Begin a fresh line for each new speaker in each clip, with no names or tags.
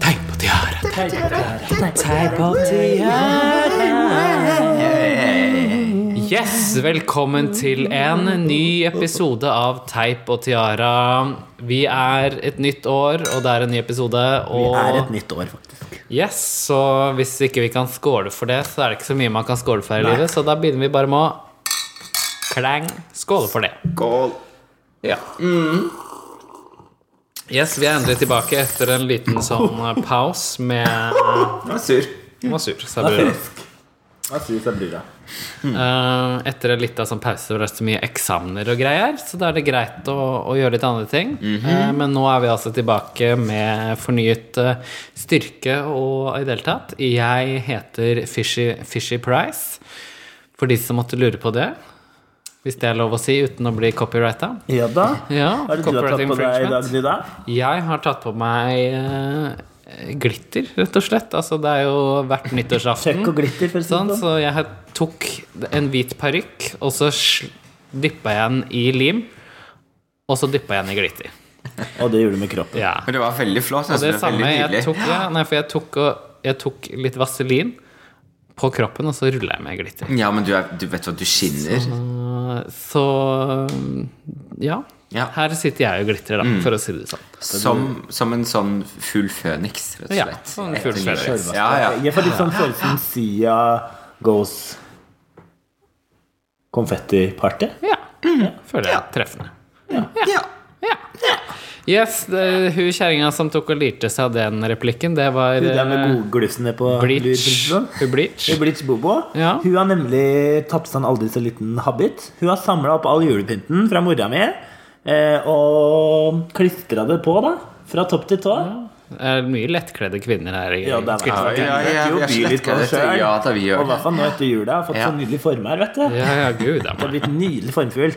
Tegn på tiara.
Tegn på
Yes, velkommen til en ny episode av Teip og tiara. Vi er et nytt år, og det er en ny episode. Og
Det er et nytt år, faktisk.
Yes, så hvis ikke vi kan skåle for det, så er det ikke så mye man kan skåle for her i livet. Så da begynner vi bare med å klang skåle for det. Ja. Yes, vi er endelig tilbake etter en liten sånn eh, pause med eh,
Jeg er sur.
Den var sur, sa brura.
Jeg er sur, sa brura.
Eh, etter en liten sånn pause hvor det er så mye eksamener og greier, så da er det greit å, å gjøre litt andre ting.
Mhm.
Eh, men nå er vi altså tilbake med fornyet eh, styrke og i det hele tatt. Jeg heter Fishy, Fishy Price, for de som måtte lure på det. Hvis det er lov å si uten å bli copyrighta.
Ja da.
Ja,
Hva er det du har
copyright
tatt på deg i
infringement.
dag, Nida?
Jeg har tatt på meg eh, glitter, rett og slett. Altså, det er jo hvert nyttårsaften.
Tøkk og glitter, for å si
Sånn,
det sånn.
så jeg har- tok en hvit parykk, og så dyppa jeg den i lim. Og så dyppa jeg den i glitter.
Og det gjorde du med kroppen.
Ja.
Men det var veldig flott.
Og det
var
samme
veldig
jeg
nydelig.
tok, ja, nei, for jeg tok, og, jeg tok litt vaselin på kroppen, og så rulla jeg med glitter.
Ja, men du, er, du vet hva, du skinner.
Uh, Så ja.
Ja.
Her sitter jeg og glitrer, da, for å si det sånn.
Som, som en sånn full føniks, rett og
Ja,
slett.
sånn full
Etter nyttår.
føniks.
Ja, ja.
Jeg får litt sånn følelsen Sia goes konfettiparty.
Ja. Føler jeg er treffende. Ja. Yes, det, hun kjerringa som tok og lirte seg av den replikken, det var
Hun der med
eh,
godglussene på
Bleach.
lur-
Hun bleach.
Det er Blitz Bobo.
Ja.
Hun har nemlig tatt på seg en aldri så liten habit. Hun har samla opp all julepynten fra mora mi eh, og klistra det på, da. Fra topp til tå.
Det er mye lettkledde kvinner her. I,
Ja, det er
Kvinnfolk,
Ja, ja, ja,
Vi liker jo å by litt
vi er
på
slettkledde,
oss selv.
ja, da vi gjør
Og i
det.
hvert fall nå etter jula. Jeg har fått
Ja.
så nydelig former, vet du.
ja, ja, gud, da,
Det har
man.
blitt nydelig formfull.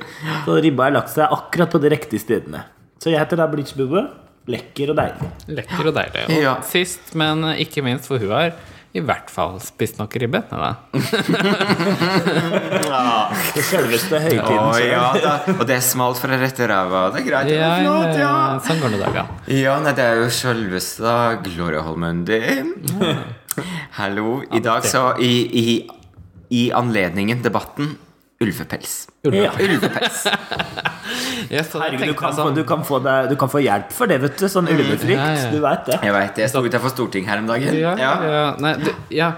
Så ribba har lagt seg akkurat på de riktige stedene. Så jeg heter da Blitz Bobo. Lekker og deilig.
Lekker og deilig. Og
Ja.
sist, men ikke minst, for hun har i hvert fall spist nok ribbe. Nei, da.
Det selveste
Å
høytiden.
ja da. Og det er smalt fra rette ræva. Det er greit. det
Ja,
var
ja,
flott,
ja.
ja.
Sånn går det i dag, ja.
Ja, nei, det er jo selveste Gloria Holmundi. Hallo. I dag så i, i, I anledningen debatten ulvepels.
Ja.
Ulvepels.
Yes, så da
Herregud, du
tenkte
kan,
jeg
få,
sånn,
du, kan få deg, du kan få hjelp for det, vet du. Sånn
Mm.
ulvefrykt.
Ja, ja.
Du veit det.
Jeg vet det. Jeg sto utenfor Stortinget her om dagen.
ja,
Ja.
ja, nei, du, ja.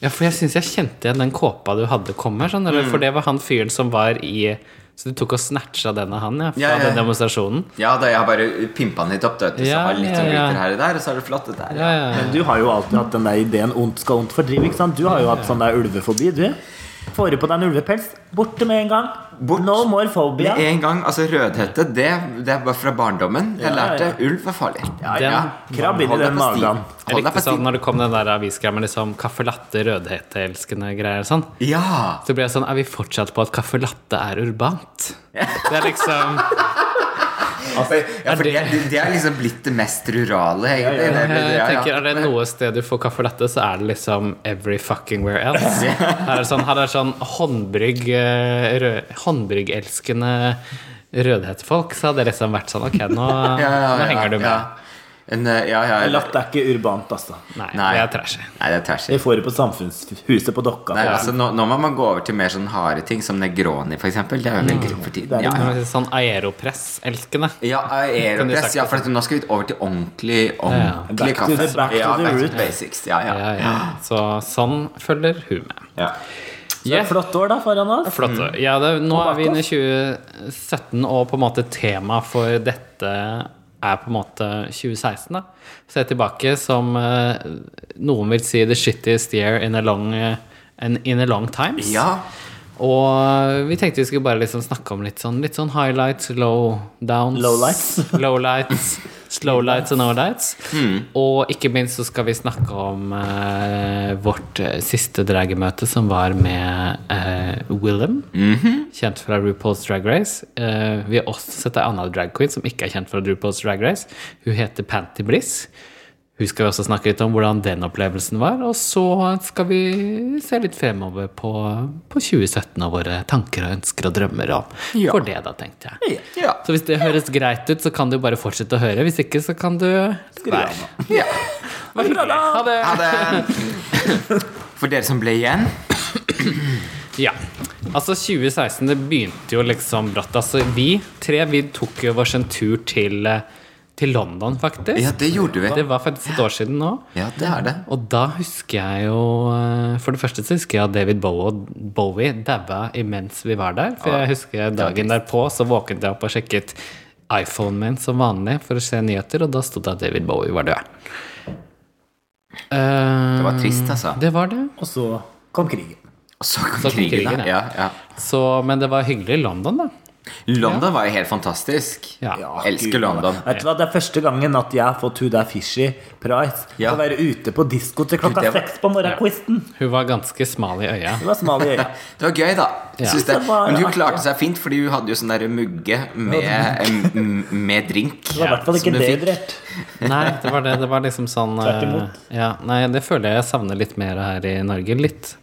ja, for jeg syns jeg kjente igjen den kåpa du hadde kommer. Sånn,
Mm.
eller, For det var han fyren som var i Så du tok og snatcha den av han, ja, fra
Ja, ja,
den
ja.
demonstrasjonen?
Ja, da jeg har bare pimpa den litt opp, da, vet du, så
Ja,
har jeg litt
ja,
sånn
ja.
glitter her og der, og så har du flatt det der.
Ja, ja, ja.
Men du har jo alltid hatt den der ideen ondt skal ondt fordrive. ikke sant? Du har jo hatt sånn der ulvefobi, du. Får du på deg en ulvepels, borte med en gang.
Bort.
No more phobia.
En gang, altså Rødhette, det, det var fra barndommen. Jeg
Ja,
lærte
ja.
ulv var farlig. Ja,
Den- krabb inn i
Hold deg
den
på sti.
Jeg
magen.
Hold deg
likte
på sti.
sånn når det kom den der avisgreia med liksom caffè latte, rødheteelskende greier og sånn.
Ja!
Så ble jeg sånn Er vi fortsatt på at caffè latte er urbant? Det er liksom
Altså, ja for
det-
det, det er liksom blitt det mest rurale, egentlig. Det- det- det-
Jeg
ja, ja.
tenker, Er det noe sted du får caffè latte, så er det liksom every fucking where else. Her er det sånn, her er det sånn håndbrygg, eh, rød, håndbryggelskende rødhetfolk, så hadde det liksom vært sånn Ok, nå,
Ja, ja, ja,
nå henger du med.
Ja. En, eh, ja, ja,
Latt er ikke urbant, altså.
Nei,
Nei.
det er trashy.
Nei, det er trashy.
Det får du på samfunnshuset på Dokka.
Nei, altså, nå, nå må man gå over til mer sånn harde ting, som Negroni, for eksempel. Det er jo veldig grovt for tiden.
Det er
Ja, ja.
Sånn aeropress-elskende.
Ja, eh,
Kunne
aeropress.
sagt
Ja, for at nå skal vi over til ordentlig ordentlig
Back to
kaffe.
the- back to
ja,
the
back to
root.
basics. Ja, ja.
Ja, ja. Så sånn følger hun med.
ja.
Det er
Yeah.
et flott år da foran oss.
Flott. Ja, det, nå
Og
er vi
bak
inne i 2017, og på en måte temaet for dette er på en måte 2016. da. Så jeg er tilbake som eh, noen vil si the shittiest year in a long, eh, an- in a long times.
Ja.
Og eh, vi tenkte vi skulle bare liksom snakke om litt sånn, litt sånn highlights, low downs
Lowlights.
lowlights, slowlights og nolights. Og ikke minst så skal vi snakke om eh, vårt eh, siste dragemøte, som var med eh, Willem. Kjent fra RuPaul's Drag Race. Eh, vi har også sett ei anna drag queen som ikke er kjent fra RuPaul's Drag Race. Hun heter Panty Bliss. Hun skal også snakke litt om hvordan den opplevelsen var. Og så skal vi se litt fremover på, på 2017 og våre tanker og ønsker og drømmer om
Ja.
for det, da, tenkte jeg.
Ja.
Så hvis det høres greit ut, så kan du bare fortsette å høre. Hvis ikke, så kan du
av
være.
ja.
Ha det! Ha det.
Ha det. For dere som ble igjen.
Ja. Altså, 2016 det begynte jo liksom brått. Altså, vi tre vi tok jo oss en tur til, eh, til London, faktisk.
Ja, det gjorde
Det
vi.
var faktisk et år siden nå.
Ja, det er det.
Og da husker jeg jo eh, For det første så husker jeg at David Bowie, Bowie daua imens vi var der. For jeg husker dagen derpå så våknet jeg opp og sjekket iPhonen min som vanlig for å se nyheter, og da sto det at David Bowie var død.
Det var trist, altså.
Det var det.
Og så kom krigen.
Og så kom
Mm. Så kom
krigen,
krigen,
da.
ja.
Ja, ja.
Så, men det var hyggelig i London, da.
London var jo helt fantastisk.
Ja.
Elsker
Gud,
London.
Vet du hva, Det er første gangen at jeg har fått Who That Fishy Prize.
Ja.
Å være ute på disko til klokka
Det var-
seks på morgenkvisten.
Hun var ganske smal i øya.
Det var smal i øya.
Det var gøy, da.
Ja.
Synes det.
Det var
Men hun
artig.
klarte seg fint, fordi hun hadde jo sånn der mugge med, m- med drink.
Det var i hvert fall ikke
Som du fikk.
dehydrert.
Nei, det var det. Det var liksom sånn eh,
Tvert imot.
Ja, nei, det føler jeg jeg savner litt mer her i Norge. Litt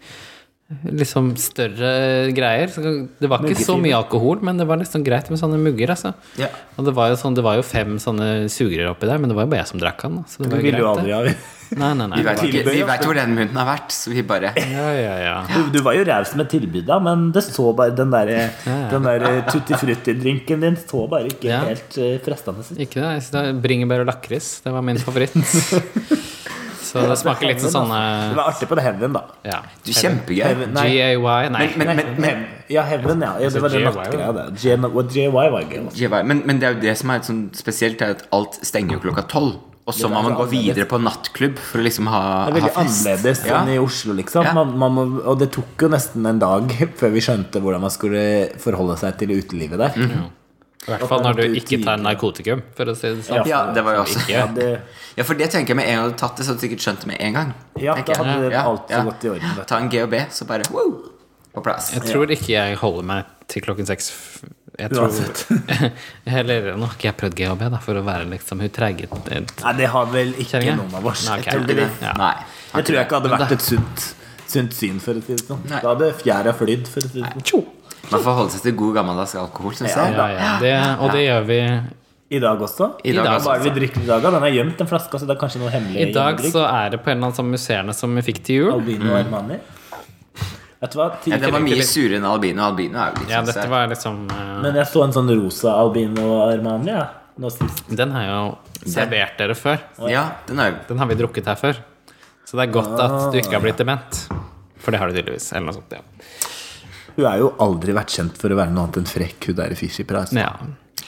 liksom større greier. Så Det var ikke så
Muggetider.
mye alkohol, men det var liksom greit med sånne mugger, altså.
Ja.
Og det var jo sånn, det var jo fem sånne sugerør oppi der, men det var jo bare jeg som drakk den. da, Så det
Du
var jo
ville jo
greit.
aldri
det.
ha
Nei, nei, nei.
Vi
det
vet
var-
ikke- vi vet hvor den munnen har vært, så vi bare
Ja, ja, ja.
Du, du var jo raus med tilbudet, men det så bare den der, den der eh, tutti frutti-drinken din så bare ikke
Ja.
helt eh, fristende ut.
Ikke det? Jeg synes det er Bringebær og lakris, det var min favoritt. Så det smaker litt som
altså. Det
sånne
var artig på det heaven, da.
ja.
Du, kjempegøy.
Heaven, nei,
GAY, nei.
Men, men,
nei, ja, heaven, ja. ja det var
Altså,
den
JY,
nattgreia, det. JM og JY var gøy. altså. også.
Ja, Men, men det er jo det som er litt sånn spesielt, er at alt stenger jo klokka tolv. Og så må man gå videre på nattklubb for å liksom ha,
Det er
ha
veldig
fest.
annerledes
Ja.
enn i Oslo, liksom.
Ja.
Man, man må, og det tok jo nesten en dag før vi skjønte hvordan man skulle forholde seg til utelivet der.
I hvert fall når du ikke tar narkotikum, for å si det sånn.
Ja, det var jo også
Ikke.
Det,
Ja, for det tenker jeg med en gang du hadde tatt det, så hadde du sikkert skjønt det med en gang.
ja,
tenker
da
jeg.
hadde
Ja,
alt
ja.
så gått i orden. vet du.
Ta en G og B, så bare wow, på plass.
Jeg tror ikke jeg holder meg til klokken seks. Jeg tror Eller nå har ikke jeg prøvd GHB, da, for å være liksom hun treige
Nei, det har vel ikke
Kjenner jeg?
noen av oss.
Nei, ok.
Jeg tror det-
Ja.
Nei.
Jeg tror jeg ikke hadde vært et sunt, sunt syn, for å si det sånn.
Nei.
Da hadde fjæra flydd, for å si det sånn.
Tjo!
Man får holde seg til god gammeldags alkohol, syns jeg.
Ja, ja, det, og det gjør vi.
I dag også.
I dag,
I dag,
Hva
altså.
er det vi drikker i dag, da? Den er gjemt, den flaska, så det er kanskje noe hemmelig
I dag
hjemmedrikk.
så er det på en eller annen sånn museerne som vi fikk til jul.
Albino Armani. Vet du hva?
Ja,
Tidligere-
den var mye surere enn albino. Albino er jo litt
Ja,
sånn
dette
sær.
var liksom eh,
Men jeg så en sånn rosa albino Armani, ja. Nå sist.
Den har jeg jo servert dere før.
Ja, den er jo
Den har vi drukket her før. Så det er godt at du ikke har blitt dement. For det har du tydeligvis. Eller noe sånt. Ja.
Hun er jo aldri vært kjent for å være noe annet enn frekk. Hun der i Fishy Price.
Men ja.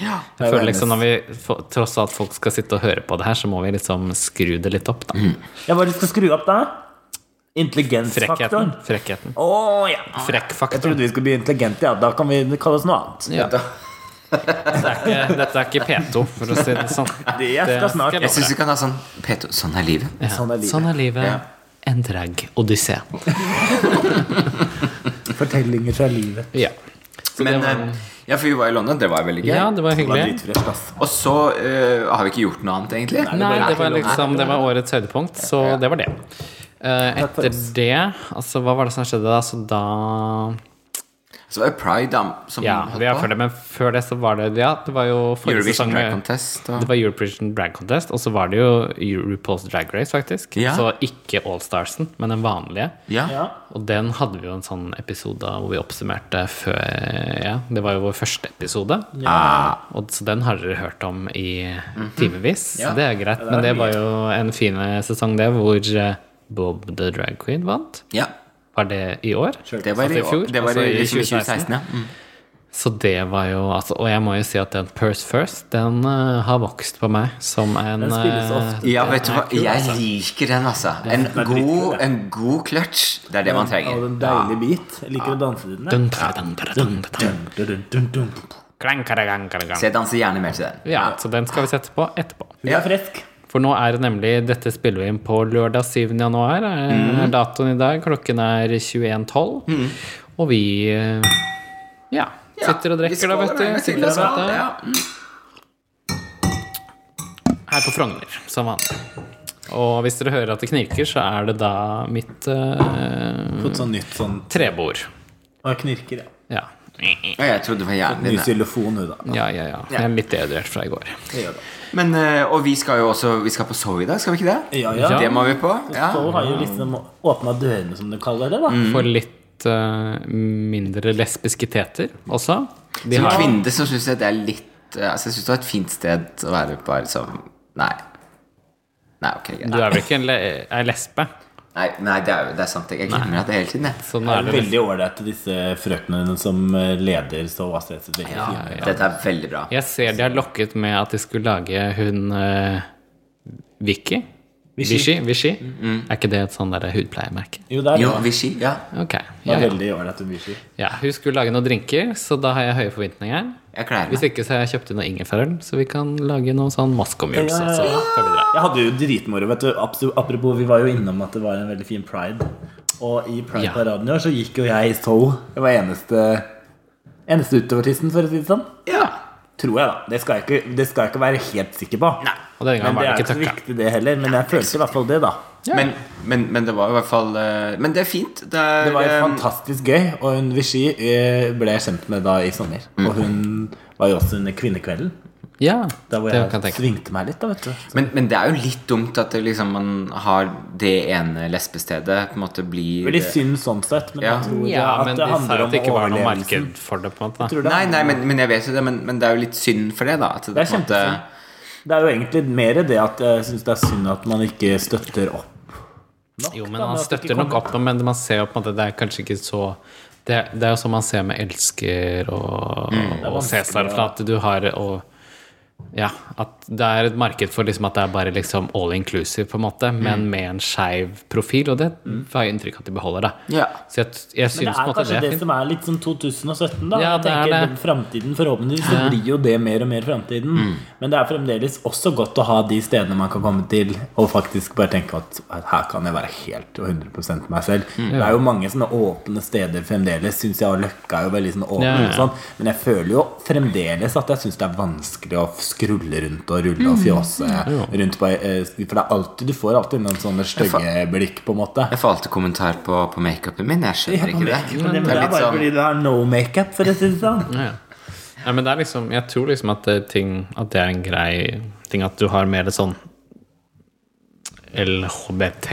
ja.
Jeg føler liksom når vi får- tross alt folk skal sitte og høre på det her, så må vi liksom skru det litt opp, da.
Ja, hva er det du skal skru opp der?
Frekkheten.
Intelligensfaktoren.
Frekkheten.
Å ja. Jeg
Frekkfaktor.
trodde vi skulle bli intelligente, ja. Da kan vi kalle oss noe annet.
Ja. Dette, er ikke, dette er ikke P2, for å si det sånn.
Det skal snart-
jeg
Jeg syns
love
vi kan ha sånn P2, Sånn er livet.
deg.
Sånn er livet.
Sånn er livet.
Ja.
En drag odyssé.
Fortellinger fra livet.
Ja. Så
Men
det var,
eh, ja, for vi var i London. Det var veldig gøy.
ja, det var
Det var
hyggelig.
dritfreskt, ass.
Og så eh, har vi ikke gjort noe annet, egentlig.
Nei, det var
Nei.
liksom Det var årets høydepunkt, så det var det. Eh,
for
etter det Altså, hva var det som skjedde da? Så da
Så var det Pride da, som
Ja, vi har følt det, men før det så var det Ja, det var jo forrige
Eurovision
sesong
Drag
med
Contest.
Det
Og...
var Eurovision Drag Contest, og så var det jo RuPaul's Drag Race, faktisk.
Ja.
Så ikke Allstarsen, men den vanlige.
Ja.
Ja.
Og den hadde vi jo en sånn episode av hvor vi oppsummerte før Ja, det var jo vår første episode.
Ah,
Og så den har dere hørt om i timevis.
Ja.
Det er greit, men det var jo en fin sesong, det, hvor eh, Bob the Drag Queen vant.
ja.
Var det i år?
Det var
Altså
i
i fjor,
år. Det var
altså
i
i
2016, ja. Mm.
Så det var jo altså, Og jeg må jo si at den Purse First, den eh, har vokst på meg som en
Den spilles
eh,
ofte.
Ja, vet du hva?
kul,
Jeg
altså.
liker den, altså. En
er dritkul,
god,
det.
en god clutch. Det er det man
Og
trenger.
en deilig beat. Jeg liker å danse til den. jeg.
dun, tra, dun, tra, dun, tra, dun.
Dun, dun, dun, dun, dun.
Klang, kara, gang, kara, gang.
Så jeg danser gjerne mer til den.
Ja, så den skal vi sette på etterpå.
Hun er frisk.
For nå er det nemlig Dette spiller vi inn på lørdag 7. januar. Eh, Er
Mhm.
datoen i dag. Klokken er 21.12. Og vi eh, ja, sitter og
vi
drikker, da,
skåler,
vet du.
vi
Sitter og
skåler,
skåler.
ja.
Her på Frogner, som vanlig. Og hvis dere hører at det knirker, så er det da mitt eh,
Fått sånn nytt sånn
trebord.
Og jeg knirker, ja.
Ja.
Og jeg trodde det var hjernen
Ny
din. jeg.
xylofon, hun, da.
Ja, ja, ja. Jeg er litt dehydrert fra i går.
Det gjør det.
Men, eh, og vi skal jo også Vi skal på show i dag, skal vi ikke det?
Ja, ja. Mm.
Ja.
Det må vi på. Ja.
Så hun har jo liksom åpna dørene, som du kaller det, da.
Mhm.
For litt eh, mindre lesbiske teter også. De
Som
har
kvinne så syns jeg det er litt eh, Altså, jeg syns det var et fint sted å være bare som Nei. Nei, ok, greit.
Du er vel ikke en le ei lesbe?
Nei, nei det, er, jo- det er sant. Jeg glemmer at det hele tiden, jeg.
Så nå
Det
er
er
det lesbe.
veldig ålreit til disse frøknene som eh, leder så ACS.
Ja, Dette er veldig bra.
Jeg ser de har lokket med at de skulle lage hun eh, Vicky.
Vichy. Mm-hmm.
Vichy. Vichy. Er ikke det et sånn der hudpleiemerke?
Jo, det er
Jo,
det.
Vichy. Ja.
Ok.
Det
Ja,
er
ja.
veldig ålreit hun blir
ja, hun skulle lage noen drinker, så da har jeg høye forventninger.
Jeg kler
Hvis
meg.
ikke så har jeg kjøpt inn noe ingefærøl, så vi kan lage noe sånn altså. maskomjølse.
Ja, ja,
så
ja.
føler vi det.
Jeg hadde jo dritmoro, vet du. Abso- Apropos, vi var jo innom at det var en veldig fin pride. Og i Pride-paraden i år så gikk jo jeg i Soul. Jeg var eneste, eneste utovertisten, for å si det sånn.
Ja.
Tror jeg, da. Det skal jeg ikke, det skal jeg ikke være helt sikker på.
Nei.
Og denne
Men
gangen
det
var
er
det
ikke
ikke
så
tøkka.
viktig, det heller. Men jeg følte i hvert fall det, da.
Ja.
Men, men, men det var i hvert fall eh, Men det er fint. Det, er,
Det var jo
eh,
fantastisk gøy, og hun Vichy eh, ble jeg kjent med da i sommer.
Mm.
Og hun var jo også under Kvinnekvelden.
Ja,
Da hvor
det kan jeg
jeg
tenke.
svingte meg litt, da, vet du.
men, men det er jo litt dumt at det, liksom, man har det ene lesbestedet på en måte blir
Veldig synd sånn sett, men
Ja.
jeg tror
Ja,
at
men de
det
sa
handler
jo
om
at det ikke var noe
overlevelsen.
marked for det, på en måte.
Tror det
Nei,
handler-
nei, men, men jeg vet jo det, men, men det er jo litt synd for det, da. At det,
Det er
på en måte-
kjempesynd. Det er jo egentlig mer det at jeg syns det er synd at man ikke støtter opp. nok,
Jo, men
da,
han
at det ikke
støtter nok
kommer-
opp, men man ser jo på en måte Det er kanskje ikke så Det, det er jo sånn man ser med Elsker og, og
vanskelig,
Cæsar, for at du har og ja, at det er et marked for liksom at det er bare liksom all inclusive, på en måte, men med en skeiv profil, og det får jeg inntrykk av at de beholder, da.
Ja.
Så jeg, jeg
Mm.
syns på
Men det
en
er
måte
kanskje
det
det,
er fint.
som er litt sånn 2017, da.
Ja,
jeg
det er
tenker
det.
fremtiden Forhåpentligvis så blir jo det mer og mer framtiden. Men det er fremdeles også godt å ha de stedene man kan komme til og faktisk bare tenke at, at her kan jeg være helt og 100 meg selv. Det er jo mange sånne åpne steder fremdeles, syns jeg, og Løkka er jo veldig sånn åpen.
Ja, ja, ja.
Og sånn. Men jeg føler jo fremdeles at jeg syns det er vanskelig å skrulle rundt og rulle
Mm.
og fjåse rundt på eh, For det er alltid, du får alltid noen sånne stygge blikk, på en måte.
Jeg får alltid kommentar på, på makeupen min. Jeg
Ja,
skjønner
men
ikke det.
det, men det,
Det er
er
litt
bare
sånn
fordi du har no makeup, for å si det sånn.
Ja, ja. Nei, men det er liksom Jeg tror liksom at det, er ting, at det er en grei ting at du har mer sånn LHBT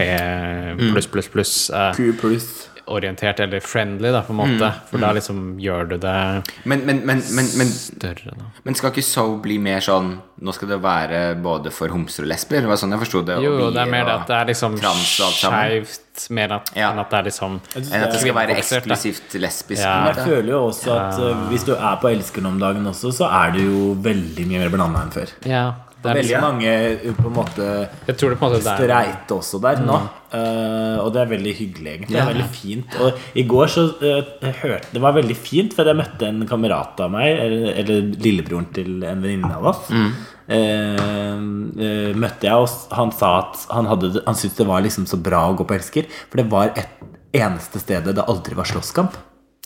pluss, pluss, pluss. Eh,
Q pluss.
orientert eller friendly, da, på en måte. For da liksom gjør du det
men, men, men, men, men,
større, da.
men skal ikke so bli mer sånn Nå skal det være både for homser og lesber? Det var sånn jeg forsto det. og
Jo, jo,
bier
det er mer det
og-
at det er liksom
trans og alt sammen.
skeivt, mer at,
Ja.
enn at det er liksom
Enn at det skal være
Oppvokset, da.
eksklusivt lesbisk.
Ja.
på en
Men
måte.
jeg føler jo også at eh, hvis du er på Elskeren om dagen også, så er det jo veldig mye mer blanda enn før.
Ja. Det er
Veldig
liksom,
mange eh, på en måte
jeg tror det på en måte det er
streite også der nå. Eh, og det er veldig hyggelig, egentlig. Det
Ja.
er veldig fint. Og i går så eh, jeg hørte Det var veldig fint, for jeg møtte en kamerat av meg, eller, eller lillebroren til en venninne av oss. Eh, eh, møtte jeg, og han sa at han, hadde, han syntes det var liksom så bra å gå på Elsker, for det var et eneste stedet det aldri var slåsskamp.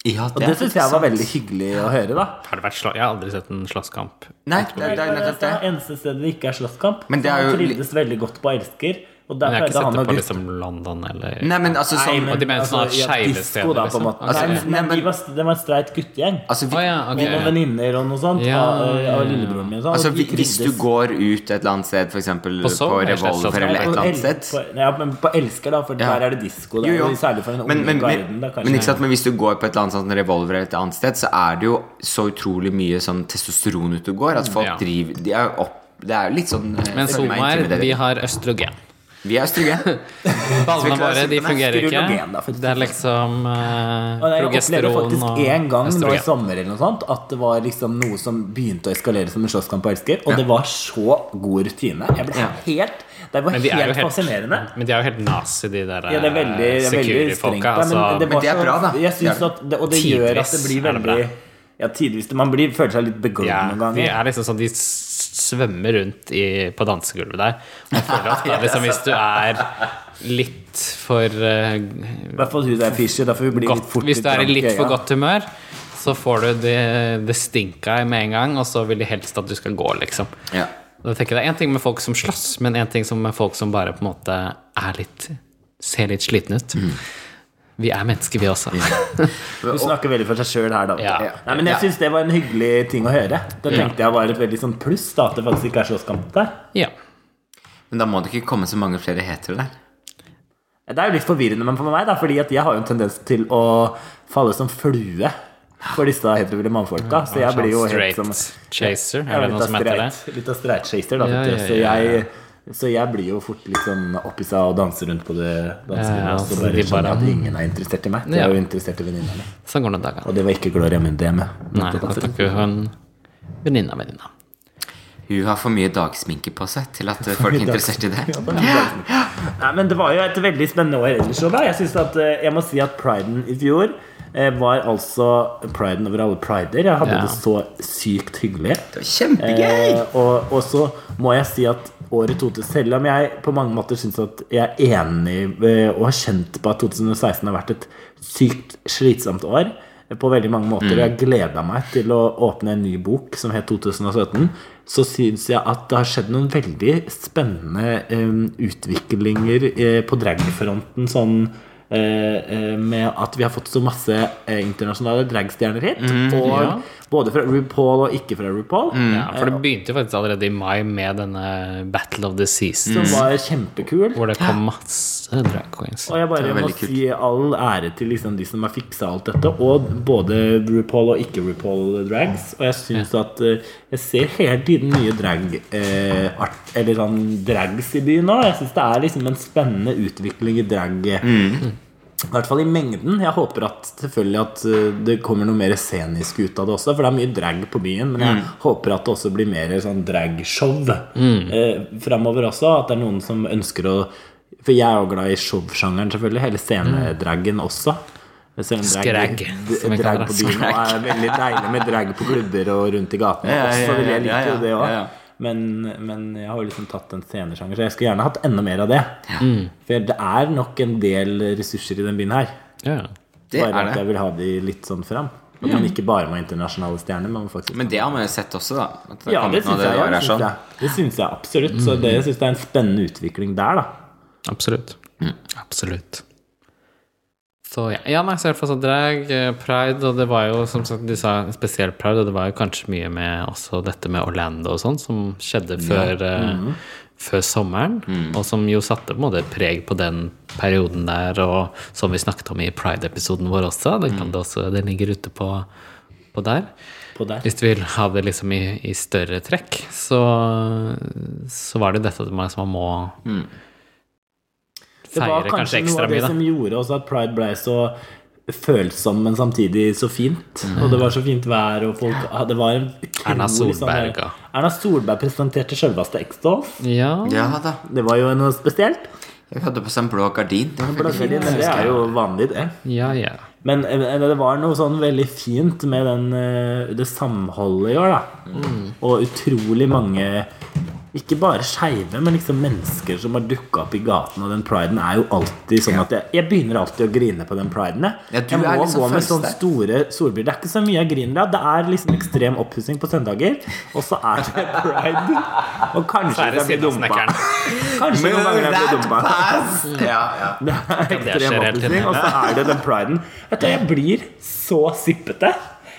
Ja,
Og det syns jeg var
sant.
veldig hyggelig å høre, da.
Har det vært slå Jeg har aldri sett en slåsskamp.
Nei, det, det, er nettopp det.
eneste stedet det ikke er slåsskamp.
Men det er
Så
jo
Han
li-
trivdes veldig godt på Elsker, og
Men
der
jeg har ikke
pleide
sett
han
det
og
på
gutta
liksom London eller
Nei, men altså
Nei,
sånn
Og de mener sånn
i at
skeive
disco,
steder,
da, på
liksom.
en måte.
Ok.
Nei, men,
Nei, men-
de var, det var en streit guttegjeng.
altså, vi,
Å ja, ok.
Med noen venninner og noe sånt.
Ja,
av, eh,
ja, ja.
Av lillebroren min. og sånn,
altså
og de
vi, hvis du
trivdes.
går ut et eller annet sted, f.eks. på,
Sogn,
på
er det
Revolver
slett
eller et eller
På
annet
El-
sted
på, ja, men på Elsker, da, for
Ja.
der er det disko.
Jo,
Der,
jo.
og Særlig for den
Men,
unge
men,
garden.
men,
Da, kanskje.
men, ikke sant? men hvis du går på et eller annet sånt revolver eller et annet sted, så er det jo så utrolig mye sånn testosteron ute og går at folk
Ja.
driver de er jo opp, Det er jo litt sånn eh,
Men
føler meg
Solmar,
intimidert.
vi har østrogen.
Vi er stygge.
Ballene
klarer
våre,
å
de
sitte med
fungerer
østrogen, da,
ikke.
for-
Det er liksom eh,
Og jeg opplevde
progesteron og
faktisk én gang nå i
østrogen.
sommer eller noe sånt, at det var liksom noe som begynte å eskalere som en slåsskamp på Elsker. Og det var så god rutine. Jeg ble
Ja.
helt Det var
Men de
helt,
er jo helt
fascinerende.
Men de er jo helt nazi, de der eh,
Ja, det er veldig, det er veldig strengt.
security-folka.
da,
Altså,
men, det
Men det er
var så-
bra, da.
Jeg synes
Det er-
at det, og det gjør at det
Tidvis
blir
er det bra.
veldig Ja, tidvis. Man blir, føler seg litt begått
ja,
noen
de
ganger.
er liksom sånn De s- svømmer rundt i, på dansegulvet der. Og jeg føler at da, liksom, hvis du er litt for eh,
I hvert fall hun der Fischer. Derfor hun blir litt
godt
fort
Hvis du er i
rank i
litt for
øya.
godt humør, så får du det, det stinka med en gang, og så vil de helst at du skal gå, liksom.
Ja.
Da tenker jeg Det er én ting med folk som slåss, men én ting som med folk som bare på en måte er litt ser litt slitne ut.
Mm.
Vi er mennesker, vi også.
Du snakker veldig for seg sjøl her, da.
Ja.
Nei, men jeg syns det var en hyggelig ting å høre. Det tenkte jeg var et veldig sånn pluss, da, at det faktisk ikke er slåsskamp der.
ja.
Men da må det ikke komme så mange flere hetere der.
Det er jo litt forvirrende men for meg, da, fordi at jeg har jo en tendens til å falle som flue for disse heterofile mannfolka. Så jeg blir jo helt
sånn Straight
som
chaser,
Ja,
er det
litt
noe
av
som heter det?
streit- Litt av streitchaser, da.
Ja,
vet du.
ja,
Så,
ja, ja.
jeg, så jeg blir jo fort litt sånn oppissa og danser rundt på det dansegulvet.
Ja, ja,
og så
så
bare
de
skjønner
bare-
jeg at ingen er interessert i meg. De
Ja.
er jo interessert i venninnene.
Sånn går det dagene.
Og det var ikke Gloria Mundi hjemme.
Nei, da takker hun venninna venninna.
Hun har for mye dagsminke på seg til at eh, folk er interessert i det.
Nei, men det var jo et veldig spennende år ellers òg, da. Jeg, synes at, eh, jeg må si at priden i fjor eh, var altså priden over alle prider. Jeg hadde
Ja.
det så sykt hyggelig.
Det var kjempegøy!
Eh, og, og så må jeg si at året 2000 Selv om jeg på mange måter syns at jeg er enig eh, og har kjent på at 2016 har vært et sykt slitsomt år eh, på veldig mange måter, og jeg gleda meg til å åpne en ny bok som het 2017, så syns jeg at det har skjedd noen veldig spennende eh, utviklinger eh, på dragfronten sånn eh, eh, med at vi har fått så masse eh, internasjonale dragstjerner hit. og
ja. Mm.
Både fra RuPaul og ikke fra RuPaul.
Ja, for det begynte jo faktisk allerede i mai med denne Battle of the Seasons,
som
Mm.
var kjempekul.
hvor det kom masse drag queens.
Og jeg bare
Det var
må
veldig kult.
si all ære til liksom de som har fiksa alt dette, og både RuPaul og ikke-RuPaul-drags. Og jeg syns at eh, jeg ser hele tiden nye drag eh, art, Eller sånn drags i byen nå. Jeg syns det er liksom en spennende utvikling i drag. eh,
Mm.
I hvert fall i mengden. Jeg håper at selvfølgelig at eh, det kommer noe mer scenisk ut av det også, for det er mye drag på byen. Men jeg
Mm.
håper at det også blir mer sånn dragshow eh,
Mm.
framover også. At det er noen som ønsker å For jeg er jo glad i showsjangeren, selvfølgelig. Hele scenedragen også. Selv om drag,
Skrag,
d-
som vi kaller
drag
det.
på byen nå er veldig deilig med drag på klubber og rundt i gatene
Ja, ja, ja,
også. vil Jeg
ja,
liker jo
ja,
det også.
ja, ja.
Men, men jeg har jo liksom tatt en scenesjanger, så jeg skulle gjerne hatt enda mer av det. For det er nok en del ressurser i den byen her.
Ja.
Det
bare
er
at
det.
jeg vil ha de litt sånn fram. At man ikke bare må ha internasjonale stjerner. Man må faktisk
Men det har man jo sett også, da. At har
ja, det
kommet noe
syns jeg,
det
ja,
året
det
er
syns
sånn.
jeg. Det syns jeg absolutt. Så det jeg syns det er en spennende utvikling der, da.
Absolutt. Absolutt. Mm. Så ja, ja nei, så i hvert fall så drag, eh, pride, og det var jo som sagt, du sa spesielt pride, og det var jo kanskje mye med også dette med Orlando og sånn, som skjedde før, eh, før sommeren, og som jo satte på en måte preg på den perioden der, og som vi snakket om i pride-episoden vår også, den, kan det også, den ligger ute på, på der.
På der.
Hvis du vil ha det liksom i, i større trekk, så, så var det dette at man, man må
Mm.
Det
feirer
var
kanskje
kanskje noe
ekstra
av det
mye, da.
som gjorde også at pride ble så følsom, men samtidig så fint. Og det var så fint vær, og folk ah, Det var en utrolig
Erna
sånn
Solberg,
der-
ja.
Erna Solberg presenterte selveste X-Dolls.
Ja.
Ja da.
Det var jo noe spesielt.
Jeg hadde på seg en blå gardin. Det var veldig
Men
fint.
det er jo vanlig, det.
ja, ja.
Men eh, det var noe sånn veldig fint med den, eh, det samholdet i år, da.
Mm.
Og utrolig mange ikke bare skeive, men liksom mennesker som har dukka opp i gaten. Og den priden er jo alltid sånn at jeg, jeg begynner alltid å grine på den priden. Jeg,
Ja, du
jeg må
er liksom
gå med
først
sånne
der.
store solbriller. Det er ikke så mye jeg griner av. Det er liksom ekstrem oppussing på søndager, og så er det pride. Og kanskje jeg blir dumpa. Kanskje noen ganger jeg blir dumpa.
Ja, ja.
Det er
det skjer hele
ekstrem oppussing,
tiden.
og så er det den priden. Vet du, Jeg blir så sippete.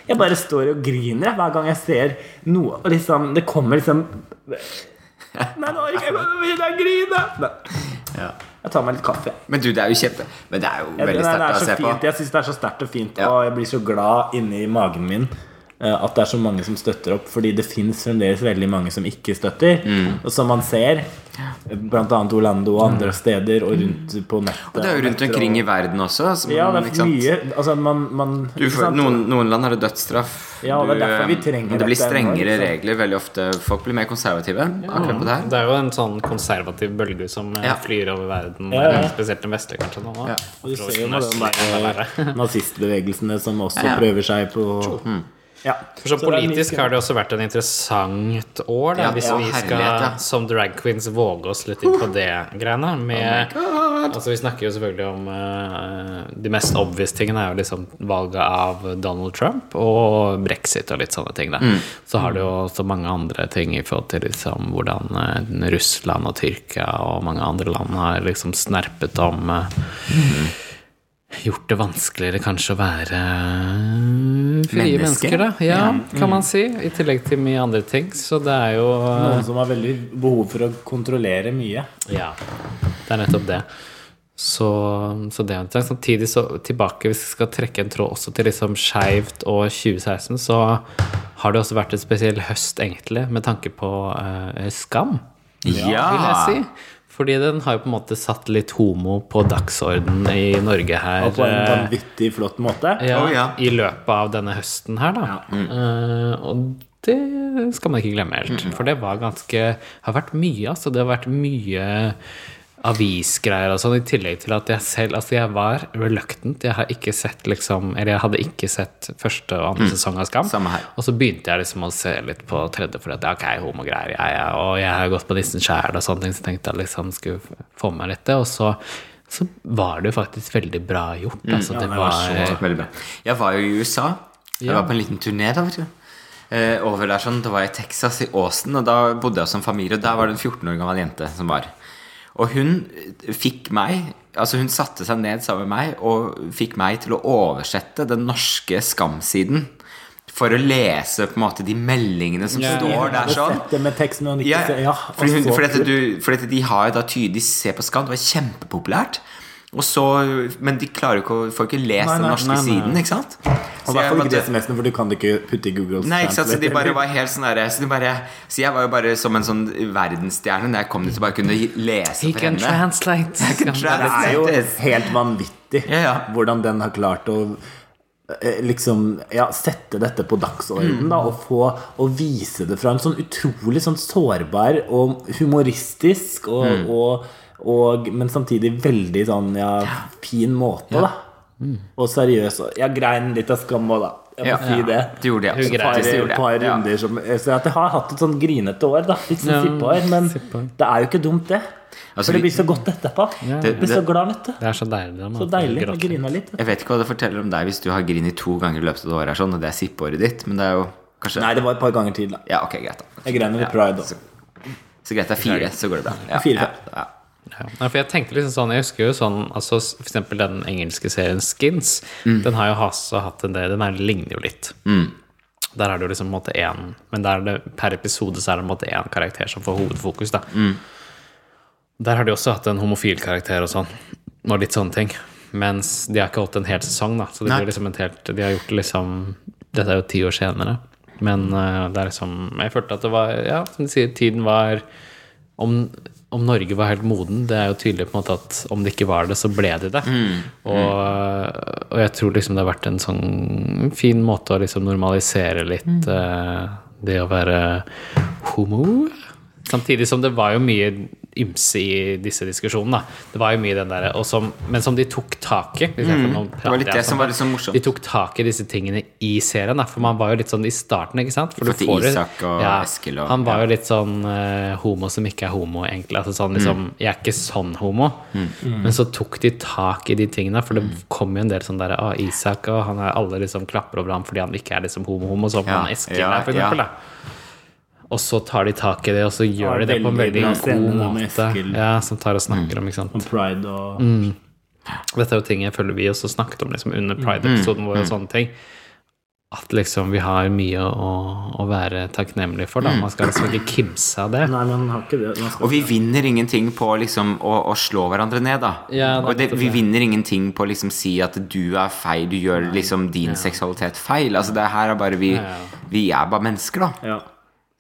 Jeg bare står og griner jeg, hver gang jeg ser noe. Og liksom, det kommer liksom Nei, nå orker jeg ikke å begynne å grine! Nei. Jeg tar meg litt kaffe.
Men du, det er jo kjempe Men det er jo
Jeg,
veldig
det,
sterkt
er
å
så
se på.
fint. jeg syns det er så sterkt og fint,
Ja.
og jeg blir så glad inni magen min eh, at det er så mange som støtter opp. Fordi det fins fremdeles veldig mange som ikke støtter.
Mm.
Og som man ser, blant annet Orlando og andre steder, og rundt på nettet.
Det er jo rundt
nettet og-
omkring i verden også. som-
ja, det
Mm, ikke
er
sant?
mye altså, man, man,
Du,
ikke
får-
sant?
noen, noen land har det dødsstraff.
Ja, og det er
Du,
derfor vi
eh,
trenger
det blir
dette ennå,
strengere
liksom.
regler veldig ofte. Folk blir mer konservative akkurat på det her.
Det er jo en sånn konservativ bølge som eh,
Ja.
flyr over verden,
Ja, ja.
spesielt den vestlige kanskje nå. da.
Ja.
Og du
Jeg tror
ser jo
den
med
østlige
den
er
der
verre.
eh, nazistbevegelsene som også
Ja, ja.
prøver seg på Mm. ja.
For så
det er mye
politisk har det også vært en interessant år, da,
Ja,
hvis
ja, Oh
vi skal
herlighet, ja.
som drag queens våge oss litt inn på det greiene, med
grad.
Altså Vi snakker jo selvfølgelig om eh, De mest obvious tingene er jo liksom valget av Donald Trump og brexit og litt sånne ting. Da.
Mm.
Så har du jo så mange andre ting i forhold til liksom hvordan eh, Russland og Tyrkia og mange andre land har liksom snerpet om eh,
Mm.
Gjort det vanskeligere kanskje å være eh, frie
Mennesker.
mennesker, da. Ja, kan
Mm.
man si. I tillegg til mye andre ting. Så det er jo eh,
Noen som har veldig behov for å kontrollere mye.
ja, det er nettopp det. Så, så det er en ting. Samtidig så tilbake, hvis vi skal trekke en tråd også til liksom skeivt og 2016, så har det også vært en spesiell høst, egentlig, med tanke på eh, skam, vil
Ah.
jeg si. Fordi den har jo på en måte satt litt homo på dagsordenen i Norge her.
Og på en
eh,
vanvittig flott måte.
ja,
Å, Oh, ja. Mm.
i løpet av denne høsten her, da. Eh, og det skal man ikke glemme helt.
Mm.
For det var ganske har vært mye, altså. Det har vært mye avisgreier og sånn, i tillegg til at jeg selv Altså, jeg var reluctant. Jeg har ikke sett liksom Eller jeg hadde ikke sett første og andre sesong av Skam.
Mm. Samme her.
Og så begynte jeg liksom å se litt på tredje, for at ja, ok, homogreier, jeg, jeg, og jeg har jo gått på nissen sjæl og sånne ting, så tenkte jeg liksom skulle få med meg litt det. Og så, så var det jo faktisk veldig bra gjort.
Mm.
Altså, det
det var
var,
Så veldig bra. Jeg var jo i USA. Jeg var på en liten turné da, vet du. Eh, over der sånn, Da var jeg i Texas, i Austin, og da bodde jeg som familie. Og der var det en 14 år gammel jente som var. Og hun eh, fikk meg Altså hun satte seg ned sammen med meg og fikk meg til å oversette den norske skamsiden. For å lese på en måte de meldingene som
Ja,
står
Jeg
der
hadde
sånn.
sett det med teksten, og han ikke
Ja,
ser- ja, altså,
fordi,
og
hun,
så
fordi, at
kult.
du, fordi at de har jo da tydelig Se på Skam, det var kjempepopulært. Og så, men de klarer jo ikke å får ikke lest
Nei,
den
nei,
norske
nei, nei.
siden, ikke sant?
Og
Så
i hvert
jeg
fall ikke
måtte-
det SMS-ene, for du kan det ikke putte i Google.
Nei, ikke sant, så de
Translate.
bare var helt sånn der, så, de bare, så jeg var jo bare som en sånn verdensstjerne når jeg kom dit og bare kunne lese
He
for
can
henne.
translate.
translate.
Det er jo
Yes.
helt vanvittig
Ja, ja.
hvordan den har klart å eh, liksom ja, sette dette på dagsordenen da, og få å vise det fra en sånn utrolig sånn sårbar og humoristisk og,
Mm.
og, og Men samtidig veldig sånn ja, fin måte, da. Og seriøs. og- Jeg grein litt av skam òg, da. Jeg må
Mm. Ja.
si det.
Det gjorde jeg.
Hun
Så
greier.
Par,
faktisk det gjorde jeg.
par
Ja.
runder som, så at jeg har hatt et sånn grinete år, da. Litt sånn
Ja,
sippehår. Men
sippehår.
det er jo ikke dumt, det.
Altså,
For
vi-
det blir så godt etterpå.
Det-
Jeg blir så
det-
glad, vet du.
Det er så deilig. da, man
Så deilig.
gråter.
Jeg grina litt.
Jeg vet ikke hva det forteller om deg hvis du har grinet to ganger i løpet av det året, her sånn, og det er sippeåret ditt, men det er jo kanskje
Nei, det var et par ganger til, da.
Ja, ok, greit, da.
Jeg grein over pride også.
Så greit, det er fire, så går det bra. Ja,
Fire,
ja,
fem.
ja.
Ja. Nei, for jeg tenkte liksom sånn, jeg husker jo sånn altså, s- For eksempel den engelske serien Skins. Den har jo også hatt en del Den er, ligner jo litt. Der er det jo liksom på en måte én Men der er det, per episode så er det på en måte én karakter som får hovedfokus. da Der har de også hatt en homofil karakter og sånn. Og litt sånne ting. Mens de har ikke holdt en hel sesong, da. Så det
Nei.
blir liksom et helt De har gjort det liksom Dette er jo ti år senere. Men eh, det er liksom Jeg følte at det var Ja, som du sier, tiden var om, om Norge var helt moden, det er jo tydelig på en måte at om det ikke var det, så ble det det.
Mm.
Og, og jeg tror liksom det har vært en sånn fin måte å liksom normalisere litt
Mm.
eh, det å være homo. Samtidig som det var jo mye ymse i disse diskusjonene. Da. Det var jo mye den der, og som, Men som de tok tak i. Hvis jeg får noen
Mm. Det var litt
prater jeg
det som var
sånn.
litt sånn morsomt.
De tok tak i disse tingene i serien, da, for man var jo litt sånn i starten, ikke sant? For
Fordi
jo-
Isak og Eskil og-
Han var jo litt sånn eh, homo som ikke er homo, egentlig. Altså sånn liksom
Mm.
Jeg er ikke sånn homo.
Mm.
Men så tok de tak i de tingene, for det
Mm.
kom jo en del sånn derre Å, Isak og han er Alle liksom klapper over ham fordi han ikke er liksom homo-homo, som
Ja,
han Eskil
ja,
er, for
ja.
eksempel, da. Og så tar de tak i det, og så gjør de
Ja,
det på en
veldig
veldig
bra scene
god
da med
måte.
Eskil.
Ja, som tar og
Mm.
snakker om, ikke sant.
Om pride og
Dette er jo ting jeg føler vi også snakket om liksom, under
Mm.
Pride-episoden vår og sånne ting. At liksom vi har mye å, å være takknemlig for, da.
Mm.
Man skal liksom ikke kimse av det.
Nei, man har ikke det. Man skal...
Og vi vinner ingenting på liksom å, å slå hverandre ned, da.
Ja, det er
og det,
nettopp
vi
det.
vinner ingenting på å liksom si at du er feil, du gjør liksom din seksualitet feil. Altså det her er bare vi,
ja.
vi er bare mennesker, da.
Ja.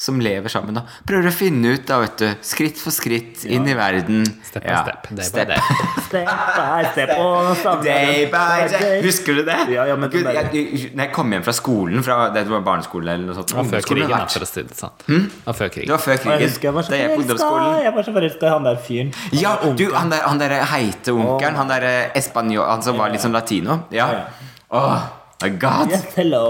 Som lever sammen, da. Prøver å finne ut, da, vet du. Skritt for skritt, inn i verden.
Step by
Ja.
step. Det er
Step
bare det.
Step by step og samle
Day
dem.
by day.
Husk-
Husker du det?
Ja, ja, men
Gud,
den der-
jeg, jeg, når jeg kom hjem fra skolen, fra det var barneskole eller noe sånt
Det var før
ungdomsskolen,
krigen, da,
det
for å si det sånn.
Hmm?
Det var før
var
krigen.
før
Og
krigen.
Jeg husker jeg var så
da jeg gikk på
forelska
ungdomsskolen.
Jeg var så forelska i han der fyren. Han
Ja,
der
du,
onkelen.
han der, han der heite onkelen, han der eh, espanjol, han som var litt sånn latino. Ja.
Ja,
Åh, my god.
Yes, hello.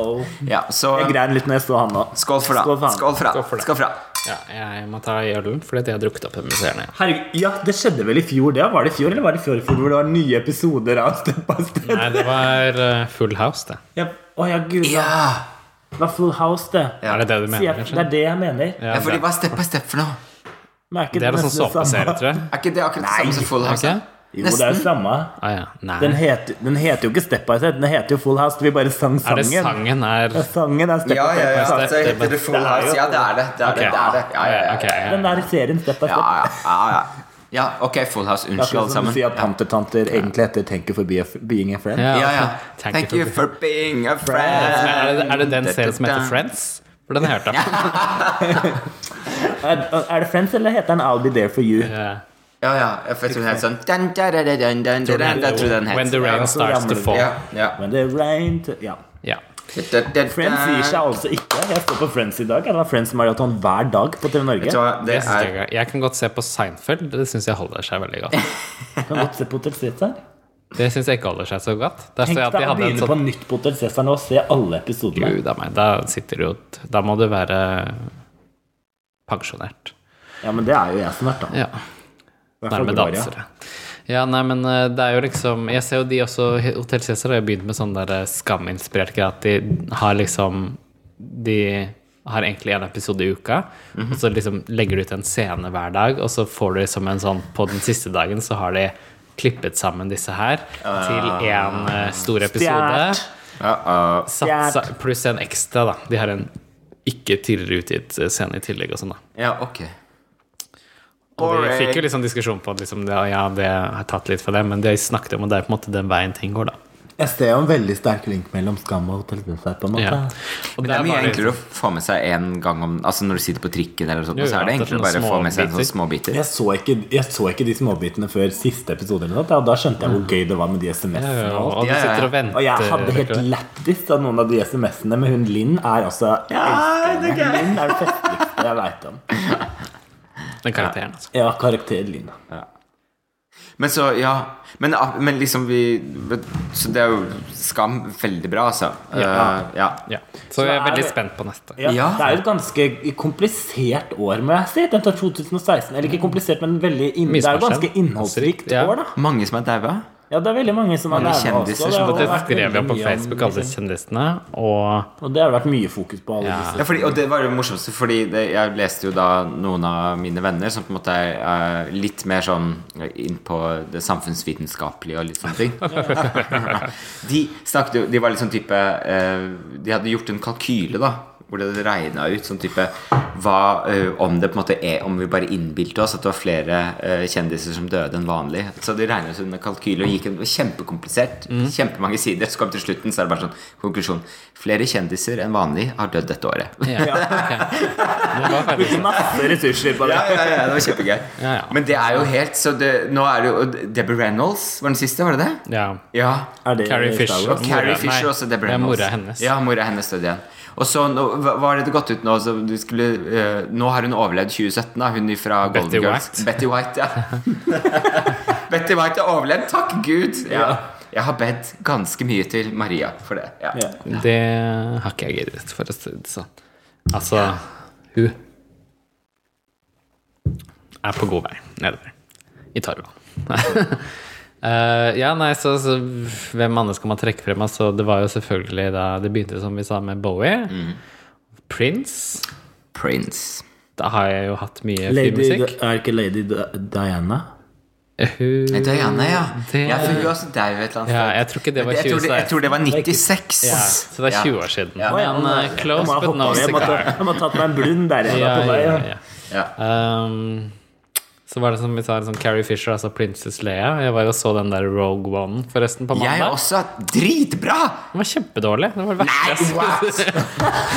Ja, så
Jeg grein litt når jeg så han nå.
skål for da.
Skål for han.
Skål for da.
Skål for da.
Skål for da.
Ja, jeg må ta ølen fordi at jeg har drukket opp den museerne.
Herregud, ja, det skjedde vel i fjor, det? Var det i fjor, eller var det i fjor, i fjor hvor det var nye episoder av Step by Step?
Nei, det var eh, Full House, det.
Ja, å ja, gud, da.
Ja!
det var Full House, det.
Er det det du
Sier
mener,
jeg-
kanskje?
det er det jeg mener.
Ja,
ja for de
det,
var step by step for noe.
Men er ikke
det er en sånn
nesten det
såpeserie,
samme?
tror jeg.
Er ikke det akkurat det samme som Full House?
Ok?
Jo, det er jo samme.
Ah, ja. Nei.
Den heter, den heter jo ikke Step by Step, den heter jo Full House. Vi bare sang
Er det
sangen.
sangen er
Ja, sangen er Step
Ja,
by
ja,
Step.
ja.
Step by
Så
step,
heter det Full
det er jo-
House. Ja, det er det. Det er det. det, er det. Ja, ja, ja.
Ok,
Den
ja.
der serien Step by Step.
Ja, ja, ja, ja. ja, ok, Full House. Unnskyld,
Akkurat som
alle
du
sammen.
sier at pantertanter egentlig heter Thank you for be a f- being a friend.
Ja.
Ja, ja.
Thank
Thank
you
you for being a friend.
Er det, er det den serien som heter Friends? For den hørte jeg.
Er, er det Friends, eller heter den I'll be there for you?
Ja.
Ja, ja. Jeg tror den het sånn dun, dun, dun, dun, dun, dun, dun, dun. Jeg tror den
When the
het
rain
Ja,
starts
så
to
ramler det.
fall.
Ja, ja.
Men det rained Ja.
Ja.
Dun, dun, dun,
Friends gir seg altså ikke. Jeg står på Friends i dag. Jeg har Friends-maraton hver dag på TV Norge.
Vet du hva, det
Det synes jeg,
er
er gøy. jeg kan godt se på Seinfeld. Det syns jeg holder seg veldig godt.
Kan godt se på Hotel Cæsar.
Det syns jeg ikke holder seg så godt. Der
Tenk
står jeg at
deg
de
å
hadde en
begynne på
sånn
nytt på Hotel Cæsar nå og se alle episodene.
Gud a meg, da sitter du jo Da må du være pensjonert.
Ja, men det er jo jeg snart, da.
Ja.
I hvert fall
Nærme
Gloria.
dansere. Ja, nei, men eh, det er jo liksom Jeg ser jo de også Hotell Cæsar har jo begynt med sånn der eh, skaminspirert greie at de har liksom De har egentlig en episode i uka, og så liksom legger de ut en scene hver dag, og så får du liksom en sånn På den siste dagen så har de klippet sammen disse her til én eh, stor episode.
Stjert.
Uh-oh.
Satsa, pluss en ekstra, da. De har en ikke tidligere utgitt eh, scene i tillegg og sånn, da.
Ja, ok.
Og de
Boring.
fikk jo liksom diskusjon på at liksom, det- ja, det har tatt litt for det, men de snakket om at det er på en måte den veien ting går, da.
Jeg ser jo en veldig sterk link mellom Skam og Hotel Cæsar, på en måte.
Ja. Og
Men det er mye
bare-
enklere å få med seg en gang om Altså når du sitter på trikken eller sånt,
Jo, jo,
så er det
at det er
enklere å bare
sånne
få med seg en
småbiter.
sånn småbiter.
Jeg så, ikke, jeg så ikke de småbitene før siste episode, eller noe, sånt, og da skjønte jeg hvor gøy det var med de
Mm. Ja,
SMS-ene.
ja,
og alt.
og du
Ja, ja, ja.
sitter og venter.
Og jeg hadde helt
Rikard.
lættis av noen av de SMS-ene, men hun Linn er altså jeg elsker henne. Linn er det festligste jeg veit om.
Den karakteren, altså.
Ja, karakter Linn.
Men så, ja Men, ah, men liksom vi Så det er jo skam veldig bra, altså.
Ja.
Eh, ja.
Ja. Så jeg er
er
veldig
det-
spent på neste.
Ja,
Ja.
Det er jo et ganske komplisert år, må jeg si. Den tar 2016. Eller ikke komplisert, men veldig inn... det er jo ganske innholdsrikt
Ja.
år, da.
Mange som er daua?
Ja, det er veldig mange som er
Mange
der nå
kjendiser
også.
som-
har
Det
vært
skrev jeg
veldig
på
mye om-
Facebook, alle disse kjendisene, og
Og det har vært mye fokus på alle disse.
Ja, fordi, og det var det morsomste, fordi det, jeg leste jo da noen av mine venner som på en måte er eh, litt mer sånn inn på det samfunnsvitenskapelige og litt sånne ting. De snakket jo De var litt sånn type eh, De hadde gjort en kalkyle, da. Hvor det hadde regna ut sånn type hva, eh, Om det på en måte er Om vi bare innbilte oss at det var flere eh, kjendiser som døde enn vanlig. Så de regna ut en kalkyle og gikk en det var kjempekomplisert.
Mm.
Kjempemange sider. Så kom til slutten, så er det bare sånn konklusjon. Flere kjendiser enn vanlig har dødd dette året.
ja, ok. Det var faktisk
Masse ressurser på det.
Ja, ja, ja, det var kjempegøy.
Ja, ja.
Men det er jo helt så det, Nå er det jo og Debbie Reynolds var den siste, var det det?
Ja.
Ja.
Er det
Carrie Fisher.
Star Wars?
Og Carrie
Mora-
Fisher
nei,
også. Debbie
det er
Reynolds.
mora hennes.
Ja, mora hennes døde igjen. Og så, nå, hva hva har det gått ut nå? Så du skulle, eh, nå har hun overlevd 2017, da. Hun fra Golden
Betty
Girls.
White.
Betty White. ja Betty White har overlevd, takk Gud! Ja. Jeg har bedt ganske mye til Maria for det. Ja.
Ja.
Det har ikke jeg giddet, for å si det sånn. Altså, hun er på god vei nedover i Tarva. Eh, ja, nei, så, så hvem andre skal man trekke frem? Altså, det var jo selvfølgelig da det begynte, som vi sa, med Bowie.
Mm.
Prince.
Prince.
Da har jeg jo hatt mye
Lady,
filmmusikk.
er ikke Lady Di- Diana?
Nei,
Eh, Hun
Diana, ja.
Det-
ja for hun er også dau et eller annet
Ja,
sted.
jeg tror ikke det var
Jeg tror det, jeg
2016.
tror det var 96.
Ja, så det er 20 år siden.
Ja.
Men eh,
Jeg må
close
ha
but no
hoppet- jeg må ta-
cigar.
Jeg må ha tatt meg en blund der. Jeg
Ja,
var på vei,
ja,
ja.
ja.
Ja.
Um, så var det som vi sa, liksom Carrie Fisher, altså Princess Leia. Jeg var jo og så den der Rogue One forresten på
Jeg er
mandag.
også dritbra!
Den var kjempedårlig. Den var det verste
Nei,
jeg så.
what?!